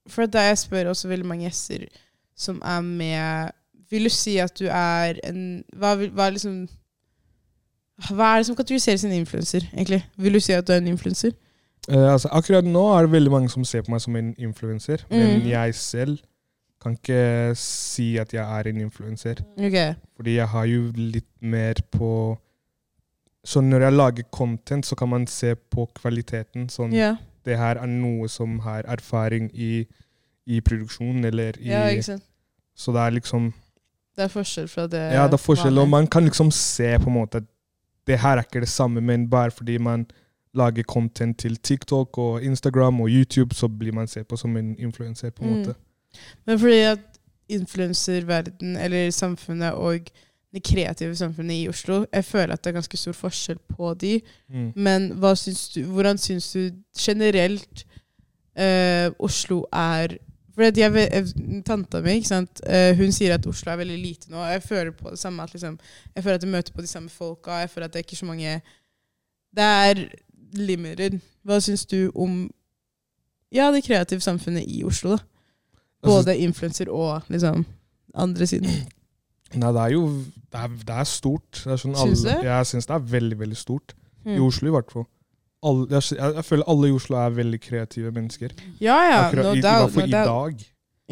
A: for at jeg spør også veldig mange gjester som er med Vil du si at du er en Hva, vil- hva er liksom Hva er det som kategoriseres en influenser, egentlig? Vil du si at du er en influenser?
C: Eh, altså, akkurat nå er det veldig mange som ser på meg som en influenser, men
A: Mm.
C: jeg selv kan ikke si at jeg er en influenser.
A: Ok.
C: Fordi jeg har jo litt mer på Så når jeg lager content, så kan man se på kvaliteten. Sånn
A: Ja,
C: det her er noe som har erfaring i, i produksjon eller i
A: ja ikke sant.
C: Så det er liksom
A: Det er forskjell fra det
C: Ja, det er forskjell, og
A: vanlige.
C: man kan liksom se på en måte at det her er ikke det samme, men bare fordi man lager content til TikTok og Instagram og YouTube, så blir man sett på som en influenser, på en
A: Mm.
C: måte.
A: Men fordi at influenserverden, eller samfunnet og det kreative samfunnet i Oslo, jeg føler at det er ganske stor forskjell på de.
C: Mm.
A: Men hva syns du, hvordan syns du generelt eh, Oslo er For at jeg, ve- eh, Tanta mi ikke sant? eh, hun sier at Oslo er veldig lite nå. og Jeg føler på det samme, at liksom, jeg føler at jeg møter på de samme folka. Jeg føler at det er ikke så mange Det er limited. Hva syns du om ja, det kreative samfunnet i Oslo? da?
C: Altså,
A: Både influenser og liksom andre siden.
C: Nei, det er jo Det er, det er stort. Det er sånn
A: Syns
C: alle,
A: du?
C: jeg syns det er veldig, veldig stort.
A: Mm.
C: I Oslo, i hvert fall. Alle, jeg, sy- jeg, jeg føler alle i Oslo er veldig kreative mennesker.
A: Ja, ja.
C: Akkurat,
A: No
C: i, I
A: doubt.
C: hvert
A: No
C: fall i
A: doubt.
C: dag.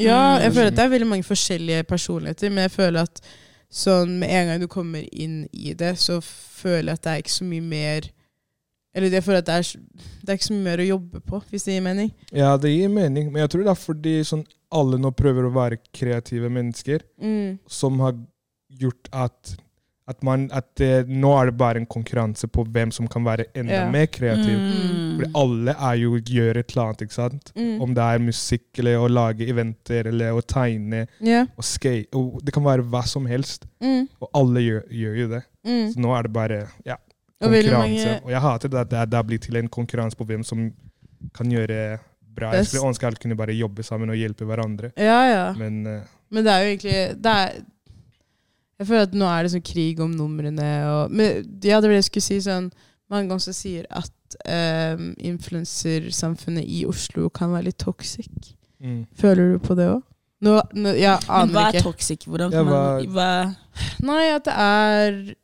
A: Ja,
B: Mm.
A: jeg føler at det er veldig mange forskjellige personligheter, men jeg føler at sånn med en gang du kommer inn i det, så føler jeg at det er ikke så mye mer Eller jeg føler at det er, s- det er ikke så mye mer å jobbe på, hvis det gir mening.
C: Ja, det gir mening, men jeg tror det er fordi sånn, alle nå prøver å være kreative mennesker,
A: Mm.
C: som har gjort at at, man, at det, nå er det bare en konkurranse på hvem som kan være enda
A: Ja.
C: mer kreativ.
B: Mm.
C: Fordi alle er jo gjør et eller annet, ikke sant?
A: Mm.
C: Om det er musikk, eller å lage eventer, eller å tegne,
A: Ja.
C: og skate. Og det kan være hva som helst,
A: Mm.
C: og alle gjør, gjør jo det.
A: Mm.
C: Så nå er det bare ja,
A: Og veldig
C: Sånn konkurranse.
A: mange
C: Og jeg hater det at det, det blir til en konkurranse på hvem som kan gjøre bra. Jeg
A: Best.
C: skulle ønske alle kunne bare jobbe sammen og hjelpe hverandre.
A: Ja, ja.
C: Men eh,
A: Men det er jo egentlig det er, Jeg føler at nå er det sånn krig om numrene og men, Ja, det var det jeg skulle si. sånn Mange ganger så sier at um, influensersamfunnet i Oslo kan være litt toxic.
C: mm.
A: Føler du på det òg? Nå, nå, jeg
B: Men hva
A: aner
B: er
A: ikke.
B: toxic? Hvordan
C: Ja,
B: kan man
C: hva-
B: hva,
A: Nei, at det er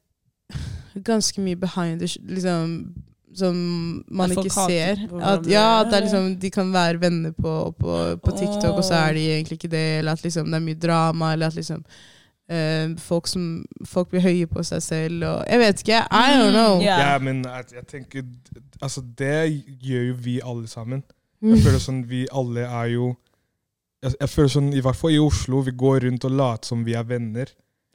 A: ganske mye behind the sh- liksom, Som man
B: At
A: ikke
B: folk hater
A: ser.
B: på
A: At,
B: hverandre,
A: ja, at det er
B: eller?
A: liksom, de kan være venner på, på, på TikTok, og så er de egentlig ikke det. Eller at liksom, det er mye drama, eller at liksom eh, folk, som, folk blir høye på seg selv. Og, jeg vet ikke. I don't know.
B: Mm, ja.
C: Ja, men jeg, jeg tenker Altså, det gjør jo vi alle sammen. Jeg føler sånn, vi alle er jo jeg, jeg føler sånn, I hvert fall i Oslo, vi går rundt og later som vi er venner.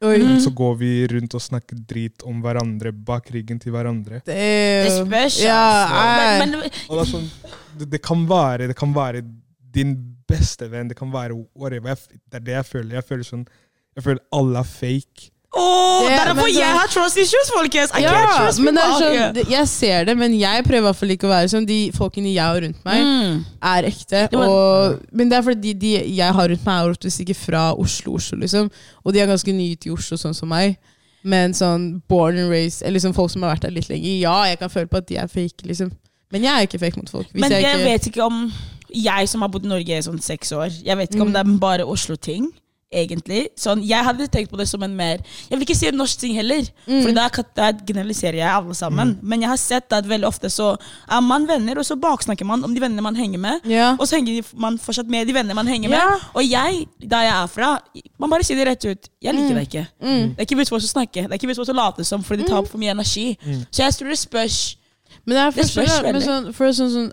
A: Oi.
C: Så går vi rundt og snakker drit om hverandre bak ryggen til hverandre.
A: Det er
B: Det
A: jo-
B: spørs, altså.
A: Ja,
B: Men,
A: nei.
B: men
C: Og det, er sånn, det, det kan være det kan være din beste venn, det kan være whatever. Jeg, f- det er det jeg føler. Jeg føler sånn, jeg føler alle er fake.
B: Åh,
A: Det-
B: derfor
A: men så-
B: jeg har trust issues, folkens! I can't
A: Ja,
B: trust
A: men det er
B: people.
A: sånn, det- jeg ser det, men jeg prøver i hvert fall ikke å være som de folkene jeg har rundt meg.
B: Mm.
A: er ekte.
B: Jo, men-
A: Og, men det er fordi de, de jeg har rundt meg, er oftest ikke fra Oslo, Oslo liksom. Og de er ganske nye til Oslo, sånn som meg. Men sånn born and raised, eller liksom folk som har vært der litt lenger, ja, jeg kan føle på at de er fake, liksom. Men jeg er ikke fake mot folk. Hvis
B: Men
A: jeg
B: jeg,
A: ikke,
B: vet ikke om Jeg som har bodd i Norge i sånn seks år, jeg vet ikke om
A: Mm.
B: det er bare Oslo-ting. Egentlig. Sånn, jeg hadde tenkt på det som en mer Jeg vil ikke si en norsk ting heller,
A: Mm.
B: for da kan- da generaliserer jeg alle sammen. Men jeg har sett at veldig ofte så er man venner, og så baksnakker man om de vennene man henger med.
A: Ja.
B: Og så henger de- man fortsatt med de vennene man henger med.
A: Ja.
B: Og jeg, der jeg er fra, man bare sier det rett ut. Jeg liker deg ikke.
A: Mm.
B: Det er ikke vits for oss å snakke. Det er ikke vits for oss å late som, fordi det tar opp for mye energi. Så jeg tror det spørs
A: Men det er
B: Det
A: forskjell, da.
B: spørs
A: Men
B: veldig.
A: sånn, for sånn sånn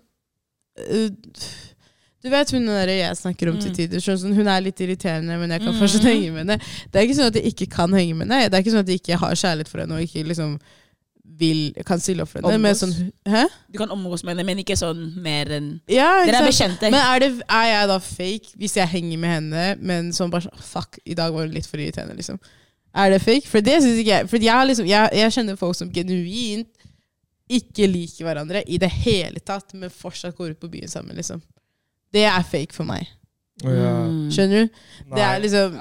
A: øh, Du vet hun der jeg snakker om
B: Mm.
A: til tider. Sånn, sånn, hun er litt irriterende, men jeg kan fortsatt henge med henne. Det er ikke sånn at jeg ikke kan henge med henne. Det er ikke sånn at jeg ikke har kjærlighet for henne og ikke liksom vil, kan stille opp for henne. Men
B: Omgås.
A: sånn, hæ?
B: Du kan omgås med henne, men ikke sånn mer enn
A: Ja, ikke
B: Dere er
A: sant?
B: bekjente.
A: Men er, det, er jeg da fake hvis jeg henger med henne, men sånn bare sånn Fuck, i dag var hun litt for irriterende, liksom. Er det fake? For det synes ikke jeg. For jeg, har liksom, jeg, jeg kjenner folk som genuint ikke liker hverandre i det hele tatt, men fortsatt går ut på byen sammen, liksom. Det er fake for meg.
C: Og jeg,
B: Mm.
A: Skjønner du? Det
C: Mm. nei.
A: er liksom
C: Nei,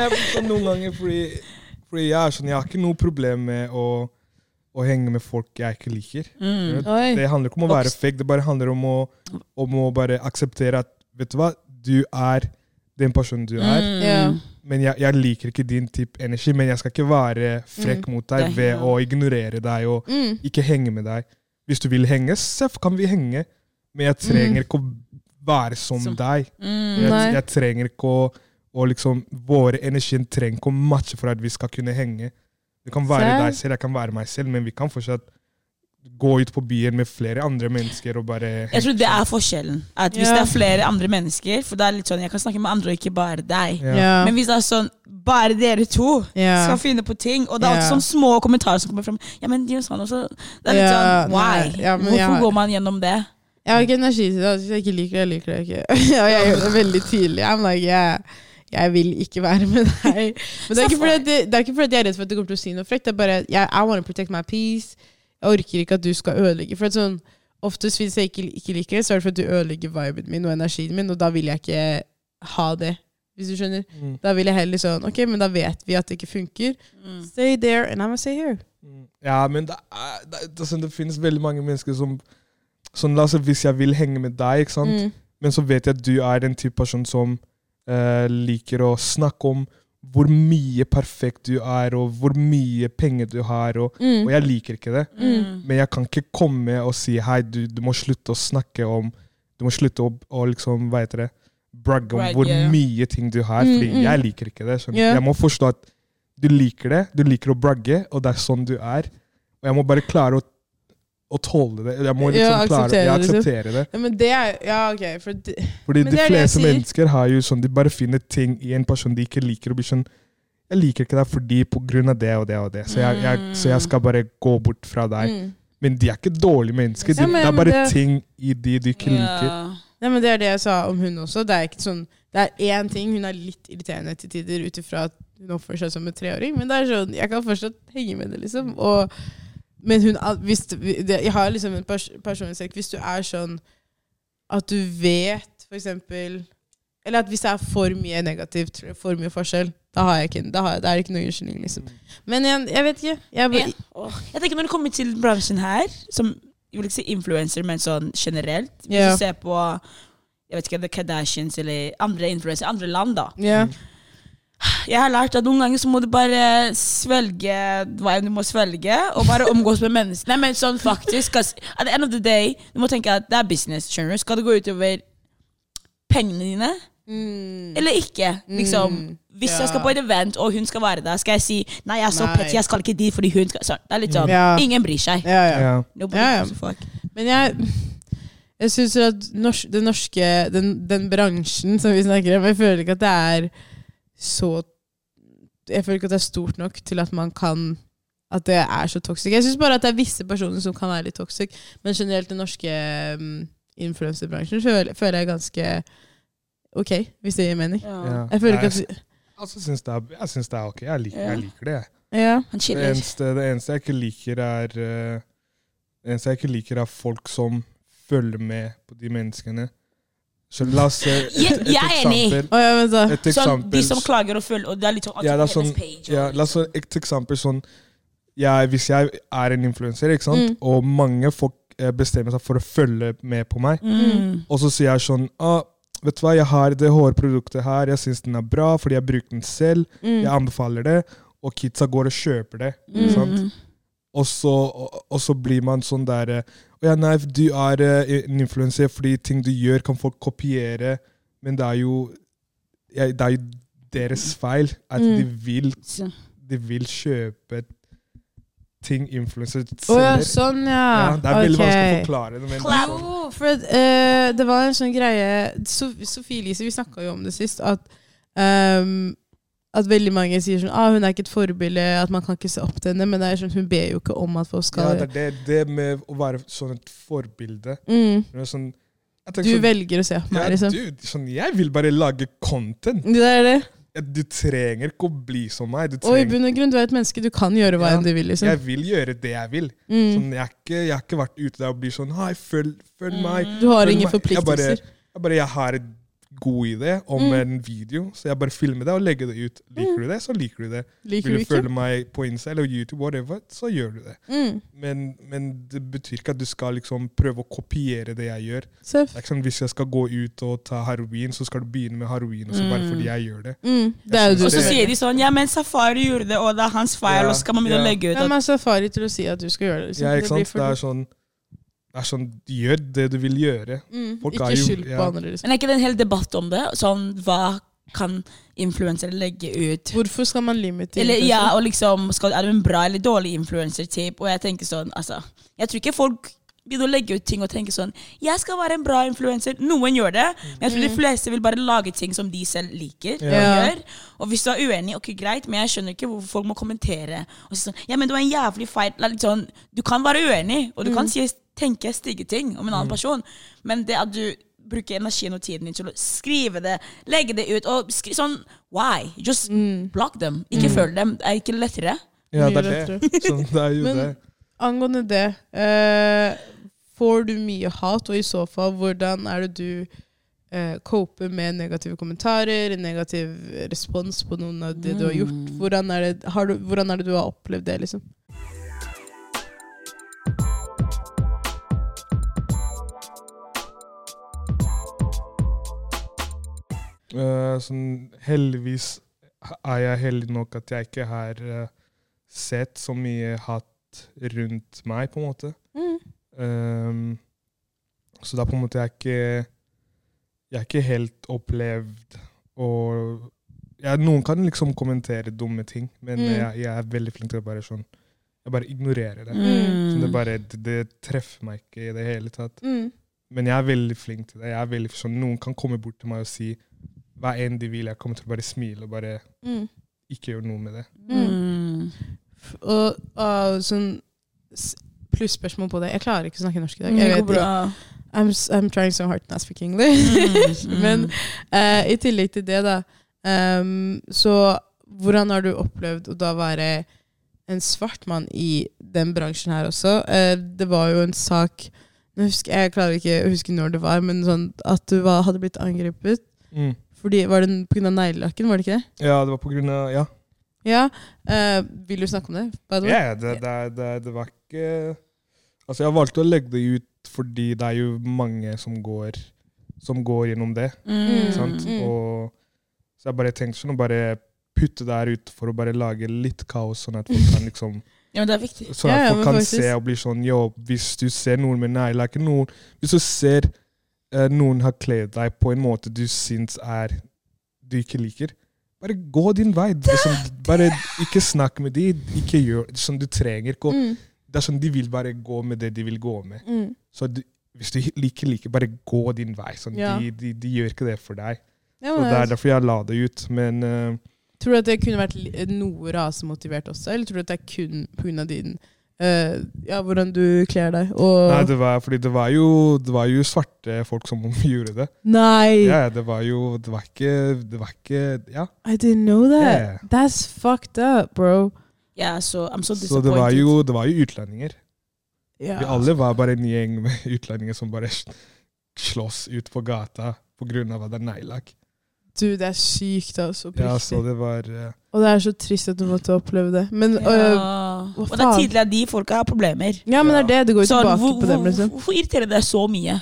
C: jeg blir sånn noen ganger fordi, fordi jeg er sånn, jeg har ikke noe problem med å, å henge med folk jeg ikke liker.
B: Mm.
A: Oi.
C: Det handler ikke om å være
B: Voksen.
C: fake, det bare handler om å, om å bare akseptere at vet du hva, du er den personen du er.
B: Mm.
A: Ja.
C: Men jeg, jeg liker ikke din type energi, men jeg skal ikke være frekk mot deg
B: Mm. Det er
C: ved
B: helt-
C: å ignorere deg og
A: Mm.
C: ikke henge med deg. Hvis du vil henge, så kan vi henge, men jeg trenger ikke å være som
B: Mm. Som-
C: deg.
B: Mm.
C: Jeg,
A: Nei.
C: jeg trenger ikke å og liksom, Våre energien trenger ikke å matche for at vi skal kunne henge. Du kan være
A: Selv?
C: deg selv, jeg kan være meg selv, men vi kan fortsatt gå ut på byen med flere andre mennesker og bare
B: Jeg tror det er forskjellen. At Hvis
A: Ja.
B: det er flere andre mennesker For det er litt sånn, jeg kan snakke med andre og ikke bare deg.
C: Ja.
A: Ja.
B: Men hvis det er sånn, bare dere to
A: Ja.
B: skal finne på ting Og det er alltid
A: Ja.
B: sånne små kommentarer som kommer fram. Ja, men de er jo sånn også. Det er litt
A: Ja,
B: sånn, why?
A: nei, ja, men
B: Hvorfor
A: jeg har-
B: går man gjennom det?
A: Jeg har ikke energi til det. altså, Hvis jeg ikke liker det, jeg liker det ikke. Og jeg gjør det veldig tydelig. I'm like, jeg, jeg vil ikke være med deg. Men det er ikke fordi, at det, det er ikke fordi at jeg er redd for at du kommer til å si noe frekt. Det er bare jeg, I want to protect my peace. Jeg orker ikke at du skal ødelegge. For at sånn, Oftest hvis jeg ikke, ikke liker det, så er det fordi at du ødelegger viben min og energien min, og da vil jeg ikke ha det. Hvis du skjønner.
C: Mm.
A: Da vil jeg heller sånn Ok, men da vet vi at det ikke funker. Stay there, and I'm gonna stay here.
C: Mm. Ja, men det, er, det, er- det, er sånn, det finnes veldig mange mennesker som sånn, La oss si hvis jeg vil henge med deg, ikke sant?
A: Mm.
C: men så vet jeg at du er den type person som eh, liker å snakke om hvor mye perfekt du er, og hvor mye penger du har, og,
A: Mm.
C: og jeg liker ikke det.
A: Mm.
C: Men jeg kan ikke komme og si hei, du, du må slutte å snakke om Du må slutte å, å liksom, hva heter det Bragge om
B: Bragge,
C: hvor
B: ja.
C: mye ting du har, fordi
A: Mm, mm.
C: jeg liker ikke det. skjønner du?
A: Ja.
C: Jeg må forstå at du liker det, du liker å bragge, og det er sånn du er. Og jeg må bare klare å, å tåle det. Jeg må liksom
A: Ja, akseptere
C: klare jeg
A: det, liksom.
C: akseptere det.
A: Ja, men det er Ja, ok. For det,
C: Fordi
A: Men
C: de
A: det er det jeg
C: fleste
A: sier.
C: mennesker har jo sånn, de bare finner ting i en person de ikke liker, og blir sånn Jeg liker ikke deg fordi på grunn av det og det og det, så jeg, jeg, så jeg skal bare gå bort fra deg.
A: mm.
C: Men de er ikke dårlige mennesker. De,
A: Ja, men-
C: det er
A: men
C: bare
A: det-
C: ting i de du ikke liker.
A: Nei, men Det er det jeg sa om hun også. Det er ikke sånn, det er én ting. Hun er litt irriterende til tider ut ifra at hun oppfører seg som en treåring, men det er sånn, jeg kan fortsatt henge med det. liksom. Og, men hun, al- hvis, det- det, jeg har liksom en pers personlig sekk. Hvis du er sånn at du vet for eksempel, Eller at hvis det er for mye negativt, tror jeg, for mye forskjell, da, har jeg ikke, da, har jeg, da er det ikke noen unnskyldning. liksom. Men jeg, jeg vet ikke. Jeg bare,
B: Men- Åh. Jeg tenker Når det kommer til bransjen her, som jeg vil ikke si influenser, men sånn generelt Hvis
A: Ja.
B: du ser på jeg vet ikke, The Kardashians eller andre influensere i andre land, da.
A: ja.
B: Jeg har lært at noen ganger så må du bare svelge hva enn du må svelge, og bare omgås med mennesker. Nei, men sånn faktisk, ass, at the end of the day, du må tenke at det er business, skjønner du. Skal det gå utover pengene dine, eller ikke? Liksom,
A: Mm,
B: hvis
A: ja.
B: jeg skal på et event, og hun skal være der, skal jeg si nei, jeg er så
A: Nei.
B: petty, jeg skal ikke dit fordi hun skal sånn, Det er litt sånn,
A: Ja.
B: ingen bryr seg.
A: Ja, ja.
C: Ja.
B: Nobody
A: Ja, ja.
B: gives a fuck.
A: Men jeg, jeg syns at norsk, det norske, den, den bransjen som vi snakker om, jeg føler ikke at det er så Jeg føler ikke at det er stort nok til at man kan At det er så toxic. Jeg syns bare at det er visse personer som kan være litt toxic, men generelt den norske um, influenserbransjen føler, føler jeg ganske ok, hvis det gir mening.
C: Ja.
A: Jeg føler
C: Nei,
A: ikke at
C: Altså, syns det er, jeg syns det er ok. Jeg liker,
B: Ja.
C: jeg liker det. jeg.
A: Ja.
B: Han
C: Det
B: chiller.
C: eneste, det eneste jeg ikke liker, er eh, Det eneste jeg ikke liker, er folk som følger med på de menneskene. Så la oss se et,
B: Jeg-
C: et
B: jeg er enig.
C: eksempel.
A: Å ja, vent, da.
C: Et
B: Sånn, de
C: eksempel.
B: som klager og føler, og det er litt sånn,
C: Ja, det er
B: på hennes
C: sånn-
B: page, og-
C: Ja, la oss se et eksempel sånn jeg, Hvis jeg er en influenser, ikke sant,
A: Mm.
C: og mange folk eh, bestemmer seg for å følge med på meg,
B: Mm.
C: og så sier jeg sånn ah, Vet du hva, jeg har det hårproduktet her, jeg syns den er bra fordi jeg bruker den selv,
A: Mm.
C: jeg anbefaler det, og kidsa går og kjøper det.
A: Mm.
C: Sant? Og så, og, og så blir man sånn der eh, «Å ja, nei, du er eh, en influenser fordi ting du gjør, kan folk kopiere. Men det er jo, ja, det er jo deres feil at
A: Mm.
C: de, vil,
B: Så-
C: de vil kjøpe ting influenser
A: Å ja,
C: selger.
A: sånn, ja.
C: Ja, det er veldig vanskelig å
A: Ok.
C: forklare det. Men
B: Clout.
C: sånn,
A: Jo, for at, eh, det var en sånn greie so Sofie Elise, vi snakka jo om det sist, at ehm, at veldig mange sier sånn ah, hun er ikke et forbilde, at man kan ikke se opp til henne. Men det er sånn, hun ber jo ikke om at folk
C: ja,
A: skal
C: det, er det, det med å være sånn et forbilde
A: mm,
C: det er sånn, jeg
A: Du
C: tenker sånn,
A: velger å se opp på meg, liksom.
C: Ja, dude, sånn, jeg vil bare lage content.
A: Det er det.
C: Du trenger ikke å bli som meg. Du
A: Og i
C: trenger,
A: bunn og grunn, du er et menneske. Du kan gjøre hva
C: Ja,
A: enn du vil, liksom.
C: jeg vil gjøre det jeg vil.
A: Mm.
C: Sånn, jeg, har ikke, jeg har ikke vært ute der og blir sånn Hei, følg, følg meg.
B: Mm.
A: Du har
C: Følg
A: ingen
C: meg. Jeg bare,
A: forpliktelser.
C: jeg bare, jeg har en god idé om
A: Mm.
C: en video, så jeg bare filmer det og legger det ut. Liker du det, så liker du det.
A: Liker
C: Vil
A: du
C: du
A: ikke?
C: følge meg på Insta eller YouTube, whatever, så gjør du det.
A: Mm.
C: Men, men det betyr ikke at du skal liksom prøve å kopiere det jeg gjør.
A: Seff.
C: Det er ikke sånn Hvis jeg skal gå ut og ta heroin, så skal du begynne med heroin også, bare
B: Mm.
C: fordi jeg gjør det.
A: Mm. Det er
C: Jeg
A: jo du
B: Og
C: synes
B: så
A: som
C: det-
B: sier de sånn Ja, men Safari gjorde det, og det er hans feil,
C: Ja,
B: og så skal man begynne å
C: ja.
B: legge ut
A: Hvem
B: at
A: er safari til å si at du skal gjøre det? Liksom?
C: Ja, ikke
A: blir
C: sant?
A: for
C: Det er
A: dumt.
C: sånn, det er sånn Gjør det du vil gjøre.
A: mm.
C: folk er
A: Ikke
C: jo-
A: skyld på
C: ja.
A: andre, liksom.
B: Men er ikke det en hel debatt om det? Sånn hva kan influensere legge ut?
A: Hvorfor skal man limite
B: Eller
A: influencer?
B: ja, og liksom skal, Er du en bra eller dårlig influenser-type? Og jeg tenker sånn, altså Jeg tror ikke folk begynner å legge ut ting og tenke sånn Jeg skal være en bra influenser. Noen gjør det, men jeg tror de fleste vil bare lage ting som de selv liker. og
A: Mm. Ja.
B: Gjør. Og hvis du er uenig, ok, greit, men jeg skjønner ikke hvorfor folk må kommentere. Og si sånn, ja, men du er en jævlig feit Det er litt sånn, Du kan være uenig, og
A: Mm.
B: du kan si, tenke stygge ting om en annen person, men det at du bruker energien og tiden din til å skrive det, legge det ut og skri, sånn Why? Just
A: Mm.
B: block them. Ikke følg dem. Det er ikke lettere.
C: Ja,
A: Mye
C: det er
A: lettere.
C: det. Sånn, det er jo
A: Men-
C: det.
A: Angående det, eh, får du mye hat, og i så fall, hvordan er det du eh, coper med negative kommentarer, negativ respons på noen av det du
B: Mm.
A: har gjort? Hvordan er det, har du, hvordan er det du har opplevd det, liksom?
C: Eh, sånn, heldigvis er jeg heldig nok at jeg ikke har eh, sett så mye hatt rundt meg, på en måte.
B: Mm.
C: Ehm, så da på en måte jeg ikke Jeg har ikke helt opplevd å ja, Noen kan liksom kommentere dumme ting, men
A: Mm.
C: jeg, jeg er veldig flink til å bare sånn Jeg bare ignorerer det. Så det,
B: Mm.
C: bare, det, det treffer meg ikke i det hele tatt.
A: Mm.
C: Men jeg er veldig flink til det. Jeg er veldig, sånn, noen kan komme bort til meg og si hva enn de vil. Jeg kommer til å bare smile og bare
A: Mm.
C: ikke gjøre noe med det.
B: Mm.
A: Og, og sånn s- plusspørsmål på det. Jeg klarer ikke å snakke norsk i dag.
B: Mm, Det
A: Jeg
B: går
A: vet ikke.
B: bra.
A: I'm, s- I'm trying so hard not to speak English.
B: Mm.
A: Men eh, i tillegg til det, da ehm, Så hvordan har du opplevd å da være en svart mann i den bransjen her også? Eh, det var jo en sak nå husker, Jeg klarer ikke å huske når det var, men sånn at du var, hadde blitt angrepet
C: Mm.
A: fordi, Var det pga. neglelakken, var det ikke det?
C: Ja, det var på grunn av Ja,
A: Ja. eh, vil du snakke om det? by the way?
C: Ja, det, det, det, det var ikke Altså, jeg valgte å legge det ut fordi det er jo mange som går, som går gjennom det.
B: Mm.
C: Sant?
A: Mm.
C: Og, så jeg bare tenkte sånn og bare putte der ute for å bare lage litt kaos, sånn at folk kan liksom
B: Ja, men det er viktig.
C: Sånn
A: Ja,
C: at
A: ja,
C: folk
A: men
C: kan
A: faktisk.
C: se og bli sånn Yo, hvis du ser nordmenn Nei, like noen Hvis du ser eh, noen har kledd deg på en måte du syns er du ikke liker, bare gå din vei. Liksom, bare ikke snakk med de, ikke gjør som du trenger. Gå.
A: Mm,
C: Det er sånn De vil bare gå med det de vil gå med.
A: mm.
C: Så du, hvis du ikke liker, bare gå din vei. Sånn,
A: Ja.
C: de, de, de gjør ikke det for deg.
A: Ja,
C: Og
A: men
C: Det er derfor jeg la det ut. Men eh,
A: Tror du at det kunne vært li- noe rasemotivert også, eller tror du at det er kun pga. din eh, Ja, hvordan du kler deg, og
C: nei, det var, fordi det var, jo, det var jo svarte folk som gjorde det.
A: Nei!
C: Ja, ja, det var jo Det var ikke, det var ikke Ja.
A: I didn't know that!
C: Yeah.
A: That's fucked up, bro.
B: Yeah, so I'm so
C: Så det var,
B: disappointed.
C: jo, det var jo utlendinger.
A: Ja.
C: Vi alle var bare en gjeng med utlendinger som bare sl- slåss ut på gata pga. at det er neglelakk.
A: Du, det er sykt, altså. På
C: Ja,
A: riktig.
C: så det var eh,
A: Og det er så trist at du måtte oppleve det. Men
B: Ja.
A: øh, hva
B: Og det er
A: faen?
B: tydelig at de folka har problemer.
A: ja, men det er det. Det går jo
B: Så
A: tilbake
B: hvor-
A: på dem,
B: hvor-
A: liksom.
B: Hvorfor irriterer det deg så mye?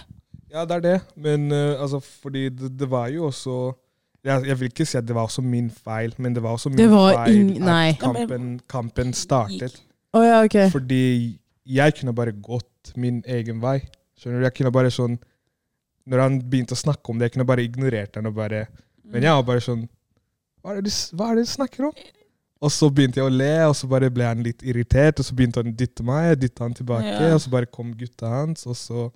C: Ja, det er det. Men eh, altså, fordi det, det var jo også jeg, jeg vil ikke si at det var også min feil, men det var også min
A: Det var
C: feil
A: ing- nei.
C: at kampen, kampen startet.
A: Å ja, ok.
C: Fordi jeg kunne bare gått min egen vei. Skjønner du? Jeg kunne bare sånn Når han begynte å snakke om det, jeg kunne bare ignorert han og bare
A: Mm.
C: Men jeg var bare sånn Hva er det du, s- hva er det du snakker om? Og så begynte jeg å le, og så bare ble han litt irritert, og så begynte han å dytte meg, jeg dytta han tilbake,
B: Ja.
C: og så bare kom gutta hans, og så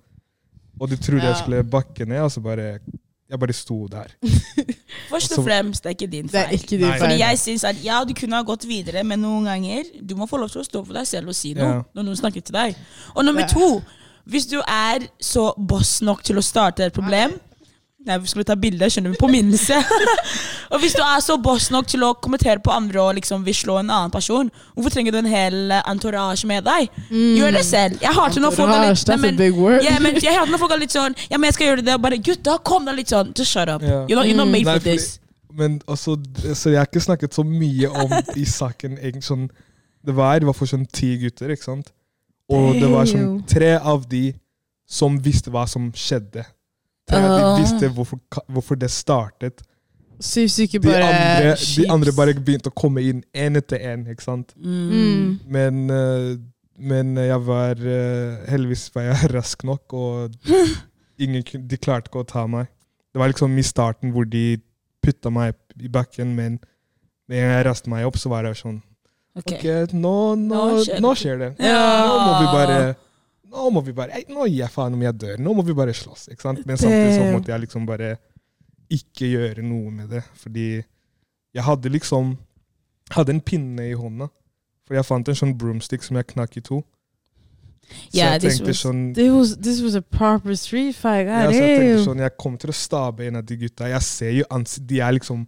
C: Og du trodde
A: Ja.
C: jeg skulle bakke ned, og så bare Jeg bare sto der.
B: Først og
C: Altså-
B: fremst, det er ikke din
A: Det er
B: feil.
A: ikke din
C: Nei.
B: Fordi
A: feil.
B: jeg synes at ja, du kunne ha gått videre, men noen ganger Du må få lov til å stå for deg selv og si noe
C: Ja.
B: når noen snakker til deg. Og nummer
A: Det-
B: to, hvis du er så boss nok til å starte et problem Nei, vi skulle ta bilde, skjønner du. Påminnelse. og hvis du er så boss nok til å kommentere på andre og liksom vil slå en annen person, hvorfor trenger du en hel eh, entourage med deg? Gjør det selv. Jeg hater når folk er
A: Entourage,
B: litt
A: Mm. that's a big word.
B: Ja, men jeg hater når folk er litt sånn Ja, men jeg skal gjøre det. Og bare gutta, kom deg litt sånn. Just shut up.
C: Ja.
B: You're, not, you're not made
C: Nei,
B: for
C: fordi-
B: this.
C: Men også, så jeg har ikke snakket så mye om i saken egentlig sånn Det var, det var for sånn ti gutter, ikke sant? Og det var sånn tre av de som visste hva som skjedde. Tre av de
A: Åh.
C: visste hvorfor, ka- hvorfor det startet.
A: Syv stykker
C: De
A: bare
C: andre, de
A: kjips.
C: andre bare begynte å komme inn én etter én, ikke sant?
A: mm.
C: Men, eh, men jeg var eh, Heldigvis var jeg rask nok, og ingen, kun- de klarte ikke å ta meg. Det var liksom i starten hvor de putta meg i bakken, men med en gang jeg raste meg opp, så var det sånn
B: Ok.
C: Ok, nå, nå,
B: Nå skjer det.
C: nå skjer det.
B: Ja.
C: Nå må vi bare Nå må vi bare ei, Nå gir jeg faen om jeg dør. Nå må vi bare slåss. ikke sant? Men samtidig så
A: Damn.
C: måtte jeg liksom bare ikke gjøre noe med det, fordi jeg hadde liksom Hadde en pinne i hånda. For jeg fant en sånn broomstick som jeg knakk i to. Så
B: Yeah,
C: jeg
B: this
C: tenkte
B: was-
C: sånn
A: This was, this was a proper street fight.
C: ja,
A: God
C: så jeg
A: damn.
C: tenkte sånn, jeg kommer til å stabe en av de gutta. Jeg ser jo ans De er liksom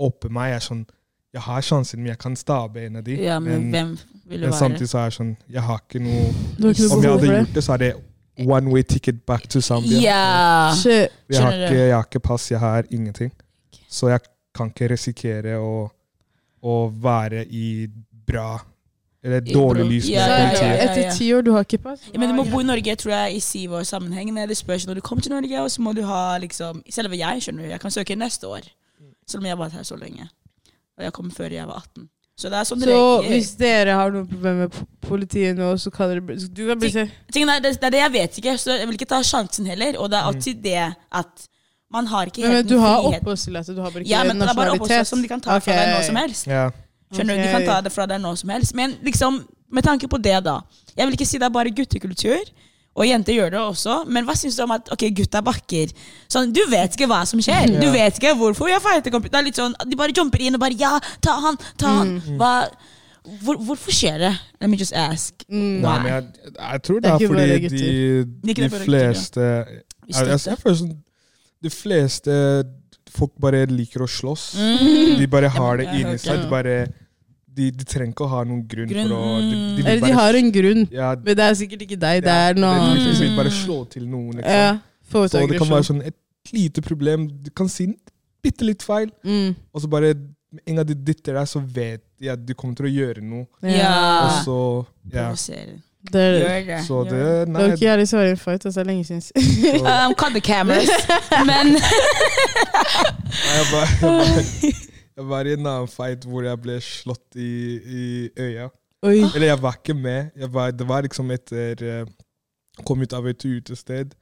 C: oppe meg. Jeg er sånn Jeg har sjansen, men jeg kan stabe en av de.
B: Ja, men hvem vil du
C: men
B: være?
C: samtidig så er jeg sånn Jeg har ikke noe
A: Du har ikke
C: Om
A: noe behov
C: jeg hadde
A: for det?
C: gjort det, så er det one way ticket back to Zambia.
B: Ja!
A: Shit.
C: Jeg, har
B: skjønner
C: ikke,
B: du.
C: jeg har ikke pass, jeg har ingenting. Så jeg kan ikke risikere å, å være i bra Eller
B: I
C: dårlig
B: bra-
C: lys med
B: Ja,
A: Så
B: ja,
C: politiet.
B: ja, ja.
A: Etter ti år, du har ikke pass?
B: Ja, men du må bo i Norge tror jeg, i syv års sammenheng. Nei, Det spørs når du kommer til Norge, og så må du ha liksom Selve jeg, skjønner du. Jeg kan søke neste år. Selv om jeg har vært her så lenge. Og jeg kom før jeg var 18. Så det er sånn
A: Så
B: regel.
A: hvis dere har noen problemer med po- politiet nå, så kan dere bli- så Du kan bli se.
B: Tingen er, det, det er det jeg vet ikke, så jeg vil ikke ta sjansen heller. Og det
C: Mm.
B: er alltid det at man har ikke
A: Men, men
B: helt
A: du har
B: noen frihet.
A: oppholdstillatelse, du har bare ikke
B: Ja, men det er bare
A: nasjonalitet.
B: oppholdstillatelse som de kan ta fra deg når som helst.
C: Ja.
B: Skjønner du,
A: Ok.
B: De kan ta det fra deg nå som helst. Men liksom, med tanke på det, da. Jeg vil ikke si det er bare guttekultur. Og jenter gjør det også. Men hva syns du om at ok, gutta bakker? Sånn, Du vet ikke hva som skjer. Du
C: Ja.
B: vet ikke hvorfor jeg fighter. kompis. Det er litt sånn, De bare jumper inn og bare Ja, ta han! Ta han!
C: Mm.
B: Hva, hvor, hvorfor skjer det? Let me just ask.
A: Mm.
C: Nei,
B: Why?
C: men jeg, jeg tror
A: Det
C: det
A: er
C: er
A: ikke bare
C: fordi
A: gutter.
C: de,
B: Mm. ikke
C: de
B: bare gutter, ja.
C: fleste jeg,
B: Vi
C: jeg,
B: støtter.
C: jeg føler sånn De fleste folk bare liker å slåss. De bare har det
B: Mm. jeg har
C: inni
B: hørt
C: seg.
B: det.
C: De, bare, de, de trenger ikke å ha noen grunn,
B: Grunn,
C: for å de, de vil
A: Eller de
C: bare-
A: har en grunn,
C: ja,
A: men det er sikkert ikke deg. Det er noe
C: det-
A: annet.
C: det-
A: liksom.
C: vil bare slå til noen. Liksom.
A: Ja, få ut
C: så det kan være
A: aggresjon.
C: sånn et lite problem. Du kan si bitte litt feil,
A: Mm.
C: og så bare med en gang de dytter deg, så vet de at du kommer til å gjøre noe.
A: Ah.
C: Og
B: Ja.
C: så Ja.
B: Provoserer.
A: Det er det.
B: Gjør det.
C: Så
B: Gjør
C: det
A: Det var
C: Nei.
A: ikke jeg som var i en fight, altså. Det er lenge siden.
C: Så, nei,
B: Um, cut the cameras. Men
C: jeg, bare, jeg, bare, Jeg var i en annen fight hvor jeg ble slått i, i øya.
A: Oi.
C: Eller jeg var ikke med. Jeg var, det var liksom etter eh, Kom ut av et utested,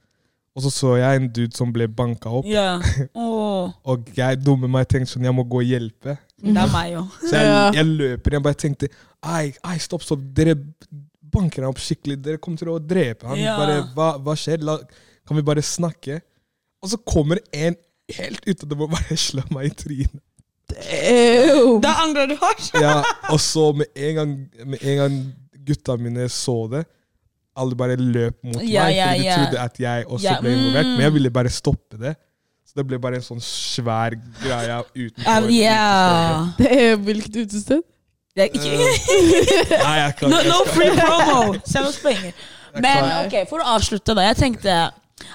C: og så så jeg en dude som ble banka opp.
B: Ja. Åh.
C: Og jeg dumme meg tenkte sånn, jeg må gå og hjelpe.
B: Det er meg òg.
C: Så jeg,
A: Ja.
C: jeg løper. Jeg bare tenkte Ei, ei, stopp, stopp. Dere banker ham opp skikkelig. Dere kommer til å drepe ham.
B: Ja.
C: Bare, hva, hva skjer? La, kan vi bare snakke? Og så kommer en helt ut av det blå og bare slår meg i trynet.
A: Ew.
B: Da angrer du hardt.
C: Ja, og så med en, gang, med en gang gutta mine så det, alle bare løp mot
B: Ja,
C: meg,
B: ja,
C: fordi de
B: ja.
C: trodde at jeg også
B: Ja,
C: ble involvert. Men jeg
B: mm.
C: ville bare stoppe det. Så det ble bare en sånn svær greie
B: Ja.
C: utenfor. utenfor.
A: Det er hvilket utested?
B: Det er ikke
C: Nei, jeg kan
B: No,
C: jeg
B: no
C: skal-
B: free promo! Seriøst penger. Men
A: klarer.
B: ok, for å avslutte, da. Jeg tenkte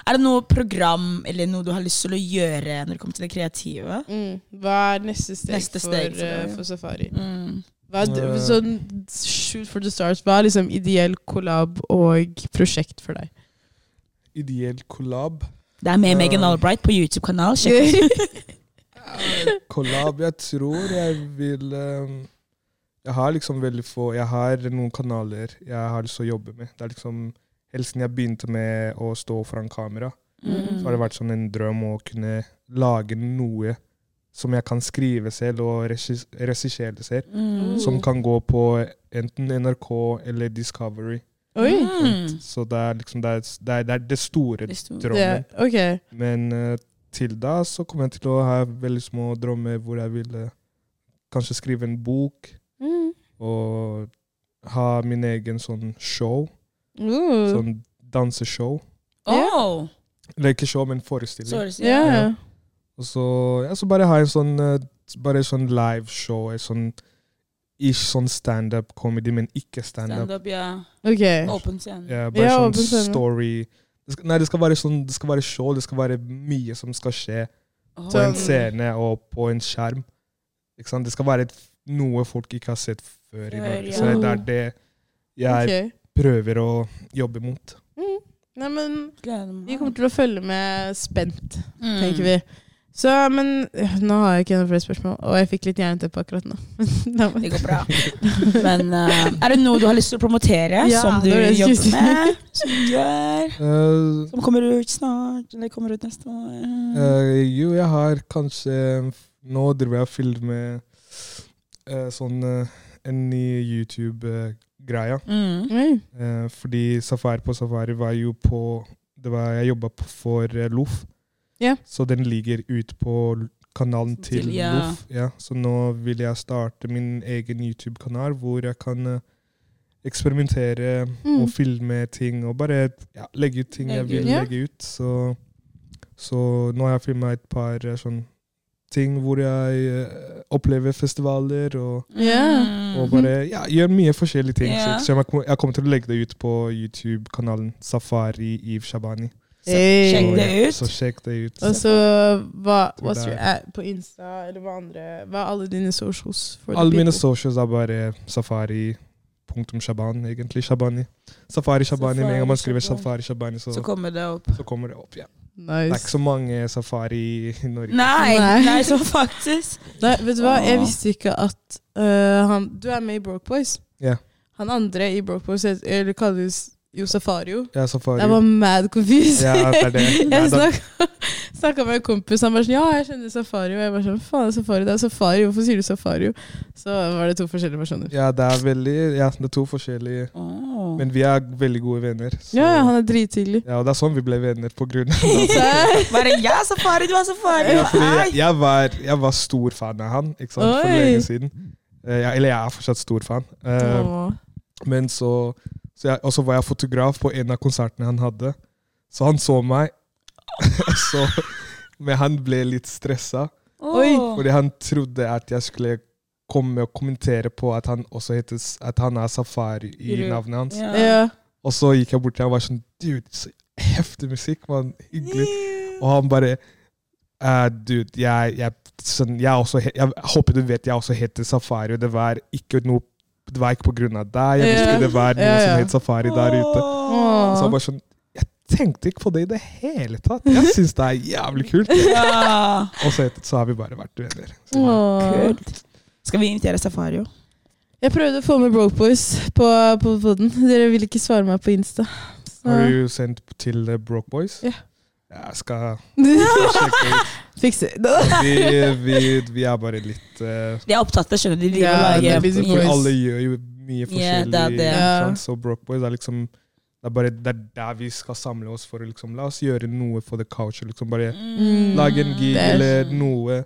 B: Er det noe program eller noe du har lyst til å gjøre når det kommer til det kreative?
A: Mm. Hva er neste steg,
B: Neste steg
A: for, eh,
B: for deg, ja.
A: for Safari?
B: Mm.
A: Hva er, d-
C: Eh.
A: sånn, shoot for the stars. Hva er liksom ideell kollab og prosjekt for deg?
C: Ideell kollab.
B: Det er med Megan
C: Eh.
B: Albright på YouTube-kanal. Sjekk
C: Kollab, jeg tror jeg vil eh, Jeg har liksom veldig få Jeg har noen kanaler jeg har lyst til å jobbe med. Det er liksom Helt siden jeg begynte med å stå foran kamera,
B: Mm.
C: så har det vært sånn en drøm å kunne lage noe som jeg kan skrive selv og regis- regissere selv.
B: Mm.
C: Som kan gå på enten NRK eller Discovery.
A: Oi!
B: Mm.
C: Så det er liksom det, er, det, er, det, er det store
B: Det sto-
A: Det,
C: drømmen.
A: ok.
C: Men eh, til da så kommer jeg til å ha veldig små drømmer hvor jeg vil eh, kanskje skrive en bok
A: Mm.
C: og ha min egen sånn show.
A: Uh.
C: Sånn danseshow.
B: Åh.
C: Eller ikke show, men forestilling.
B: Sorry, sier
A: Ja.
B: jeg.
C: Ja. Og så, ja, så bare ha en sånn eh, bare sånn liveshow, en sånn ish sånn standup comedy, men ikke standup.
B: Standup, ja.
A: Ok.
B: Åpen scene.
C: Eh. Ja, bare
A: Ja, åpen
C: sånn
A: scene.
C: story. Det skal, nei, det skal være sånn, det skal være show, det skal være mye som skal skje. på
A: Så-
C: en scene og på en skjerm. Ikke sant? Det skal være et, noe folk ikke har sett før i
B: Før,
C: Norge.
B: ja.
C: Så det er det jeg
A: Ok.
C: prøver å jobbe mot.
A: Mm. Nei, men
B: Gleder
A: vi
B: meg.
A: kommer til å følge med spent,
B: Mm.
A: tenker vi. Så, men øh, nå har jeg ikke noen flere spørsmål, og jeg fikk litt jernteppe akkurat nå. La meg-
B: Det går bra. Men eh, er det noe du har lyst til å promotere,
A: Ja,
B: som du
A: det var det jeg
B: jobber
A: skulle si.
B: med? Som du gjør?
C: Eh,
B: Som kommer ut snart? Eller kommer ut neste år?
C: eh, jo, jeg har kanskje Nå driver jeg og filmer eh, sånn eh, en ny eh, YouTube-greie.
B: Mm.
A: Oi.
C: Eh, fordi Safari på Safari var jo på det var, Jeg jobba for eh, Loff.
A: Ja.
C: Så den ligger ute på l- kanalen til,
B: Til- ja.
C: Loff. Ja. Så nå vil jeg starte min egen YouTube-kanal hvor jeg kan eh, eksperimentere
A: Mm.
C: og filme ting og bare ja, legge ut ting jeg
B: Legge
C: vil
A: ut. Ja.
C: legge ut. Så, så nå har jeg filma et par eh, sånn ting hvor jeg eh, opplever festivaler og
A: Ja.
B: Mm.
C: og bare ja, gjør mye forskjellige ting.
B: Ja.
C: Så, så jeg, kom- jeg kommer til å legge det ut på YouTube-kanalen Safari Iv Shabani.
B: Så sjekk
C: Så-
B: det ut.
C: Så sjekk det ut.
A: Og så hva what's
C: der.
A: your, eh, på Insta, eller hva andre Hva er alle dine socials? for the
C: Alle mine
A: people?
C: socials er bare safari.shaban, egentlig. Shabani. Safari Shabani. Med en gang man skriver
B: Safari
C: Safari Shabani, så,
B: Så
C: så,
B: kommer det opp.
C: kommer det opp. Ja. Det er ikke
A: Nice.
C: så mange safari i
A: Mm.
C: Norge.
B: Nei,
A: Nei.
B: nei, så faktisk.
A: Nei, vet du hva,
C: Ah.
A: jeg
B: Åh.
A: visste ikke at øh, han Du er med i Broke Boys.
C: Ja.
A: Han andre i Broke Boys het- eller kalles jo Safario.
C: Ja, safari.
A: Jeg var mad confused.
C: Ja, det er det. Nei,
A: jeg
C: da-
A: snakka- snakka med en kompis, han var sånn Ja, jeg kjenner Safario. Og jeg var sånn Faen, Safari, det er Safari. Hvorfor sier du Safario? Så var det to forskjellige personer.
C: ja, det er veldig Ja, det er to forskjellige
B: Åh.
C: Men vi er veldig gode venner. så-
A: Ja, ja, han er drithyggelig.
C: ja, og det er sånn vi ble venner, på grunn av
A: Så-
B: Bare jeg er safari, du er safari.
C: Ja, fordi jeg,
B: Ai.
C: jeg, var, jeg var stor fan av han ikke sant, for
A: Oi.
C: lenge siden. Eh, jeg, eller jeg er fortsatt stor fan. Eh,
A: Åh.
C: Men så, så jeg, Og så var jeg fotograf på en av konsertene han hadde. Så han så meg. så, men han ble litt stressa,
A: Oi.
B: Åh.
C: fordi han trodde at jeg skulle komme og kommentere på at han også heter, s- at han er Safari i
B: Gru.
C: navnet hans.
A: Ja.
C: Og så gikk jeg bort til han og var sånn Dude, så heftig musikk, mann. Hyggelig. Og han bare «Eh, Dude, jeg, jeg, sånn, jeg, er også, he- jeg håper du vet jeg også heter Safari, og det var ikke noe det var ikke på grunn av deg. Jeg
A: Ja.
C: visste det var noen
A: Ja, ja.
C: som het Safari der ute.
B: Åh.
C: Så han bare sånn Jeg tenkte ikke på det i det hele tatt. Jeg syns det er jævlig kult.
B: Ja.
C: Og så, så har vi bare vært venner. Så,
A: Åh.
B: Kult. Skal vi invitere Safari òg?
A: Jeg prøvde å få med Broke Boys på, på poden. Dere ville ikke svare meg på Insta. Så-
C: Har du sendt til eh, Broke Boys?
A: Ja.
C: Jeg skal sjekke ut.
A: Fikse det.
C: Vi, vi, vi er bare litt eh,
B: De er opptatt, jeg skjønner. De driver
A: Ja,
B: og
A: det er
B: lager
A: litt
C: For
A: Boys.
C: alle gjør jo mye
B: Ja,
C: forskjellig.
B: det er det.
A: Ja.
C: sant? Så Broke Boys er liksom det er, bare, det er der vi skal samle oss for å liksom, La oss gjøre noe for the couch. Liksom bare
A: Mm.
C: lage en
A: det
C: gig
A: er-
C: eller noe.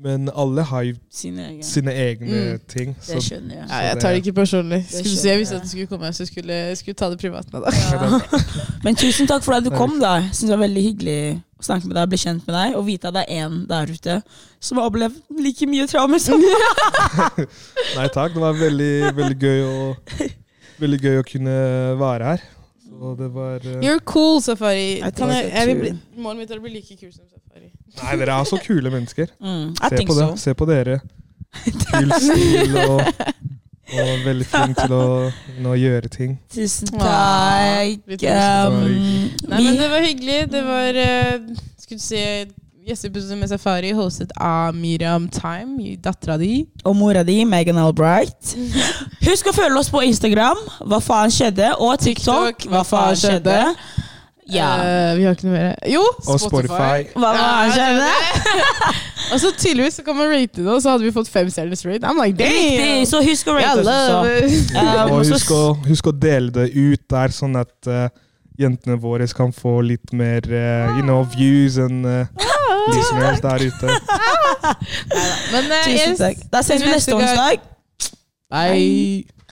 C: Men alle har jo
B: Sine egne.
C: sine egne
A: Mm.
C: ting. Så
B: Det skjønner jeg.
A: Nei, jeg tar det ikke personlig. Skulle
B: skjønner
A: si jeg visste
B: jeg.
A: at du skulle komme, så jeg skulle, jeg skulle ta det privat med deg.
B: Ja. Men tusen takk for at du
C: Takk.
B: kom. da Synes det var Veldig hyggelig å snakke med deg, bli kjent med deg og vite at det er én der ute som har opplevd like mye traumer som meg.
C: Nei takk, det var veldig, veldig gøy å Veldig gøy å kunne være her. Så det var eh,
A: You're cool, Safari.
B: I think
A: Kan jeg,
B: so
A: jeg vil
B: too.
A: bli, målet mitt er å bli like kul som Safari.
C: Nei, dere er så kule mennesker.
B: Mm, I
C: Se
B: think
C: på, det.
B: so.
C: Se på dere. Kul stil og, og veldig flink til å you know, gjøre ting.
B: Tusen
A: Ah,
B: takk.
A: litt tusen
B: Um,
C: takk.
A: Nei, men
B: vi,
A: det var hyggelig. Det var eh, Skulle du si gjesteepisode med Safari, hostet av Miriam Time, dattera di.
B: og mora di, Megan Albright. Husk å følge oss på Instagram, Hva faen skjedde? Og TikTok,
A: TikTok,
B: Hva faen skjedde? Ja.
A: Eh, vi har ikke noe mer. Jo,
C: Og Spotify.
B: Hva faen skjedde?
A: Og så tydeligvis så kan man rate det, og så hadde vi fått fem stjerners rate. I'm like,
B: Riktig!
A: damn!
B: Så husk å
A: I
B: rate oss altså. også.
A: love it.
B: Ja,
C: og
B: men så-
C: husk å, husk å dele det ut der, sånn at eh, jentene våre kan få litt mer eh, you know, views and eh, listeners der ute.
A: Men eh,
B: Tusen
A: yes.
B: takk. Da ses vi
A: Neste
B: neste
A: gang.
B: onsdag.
A: Bye.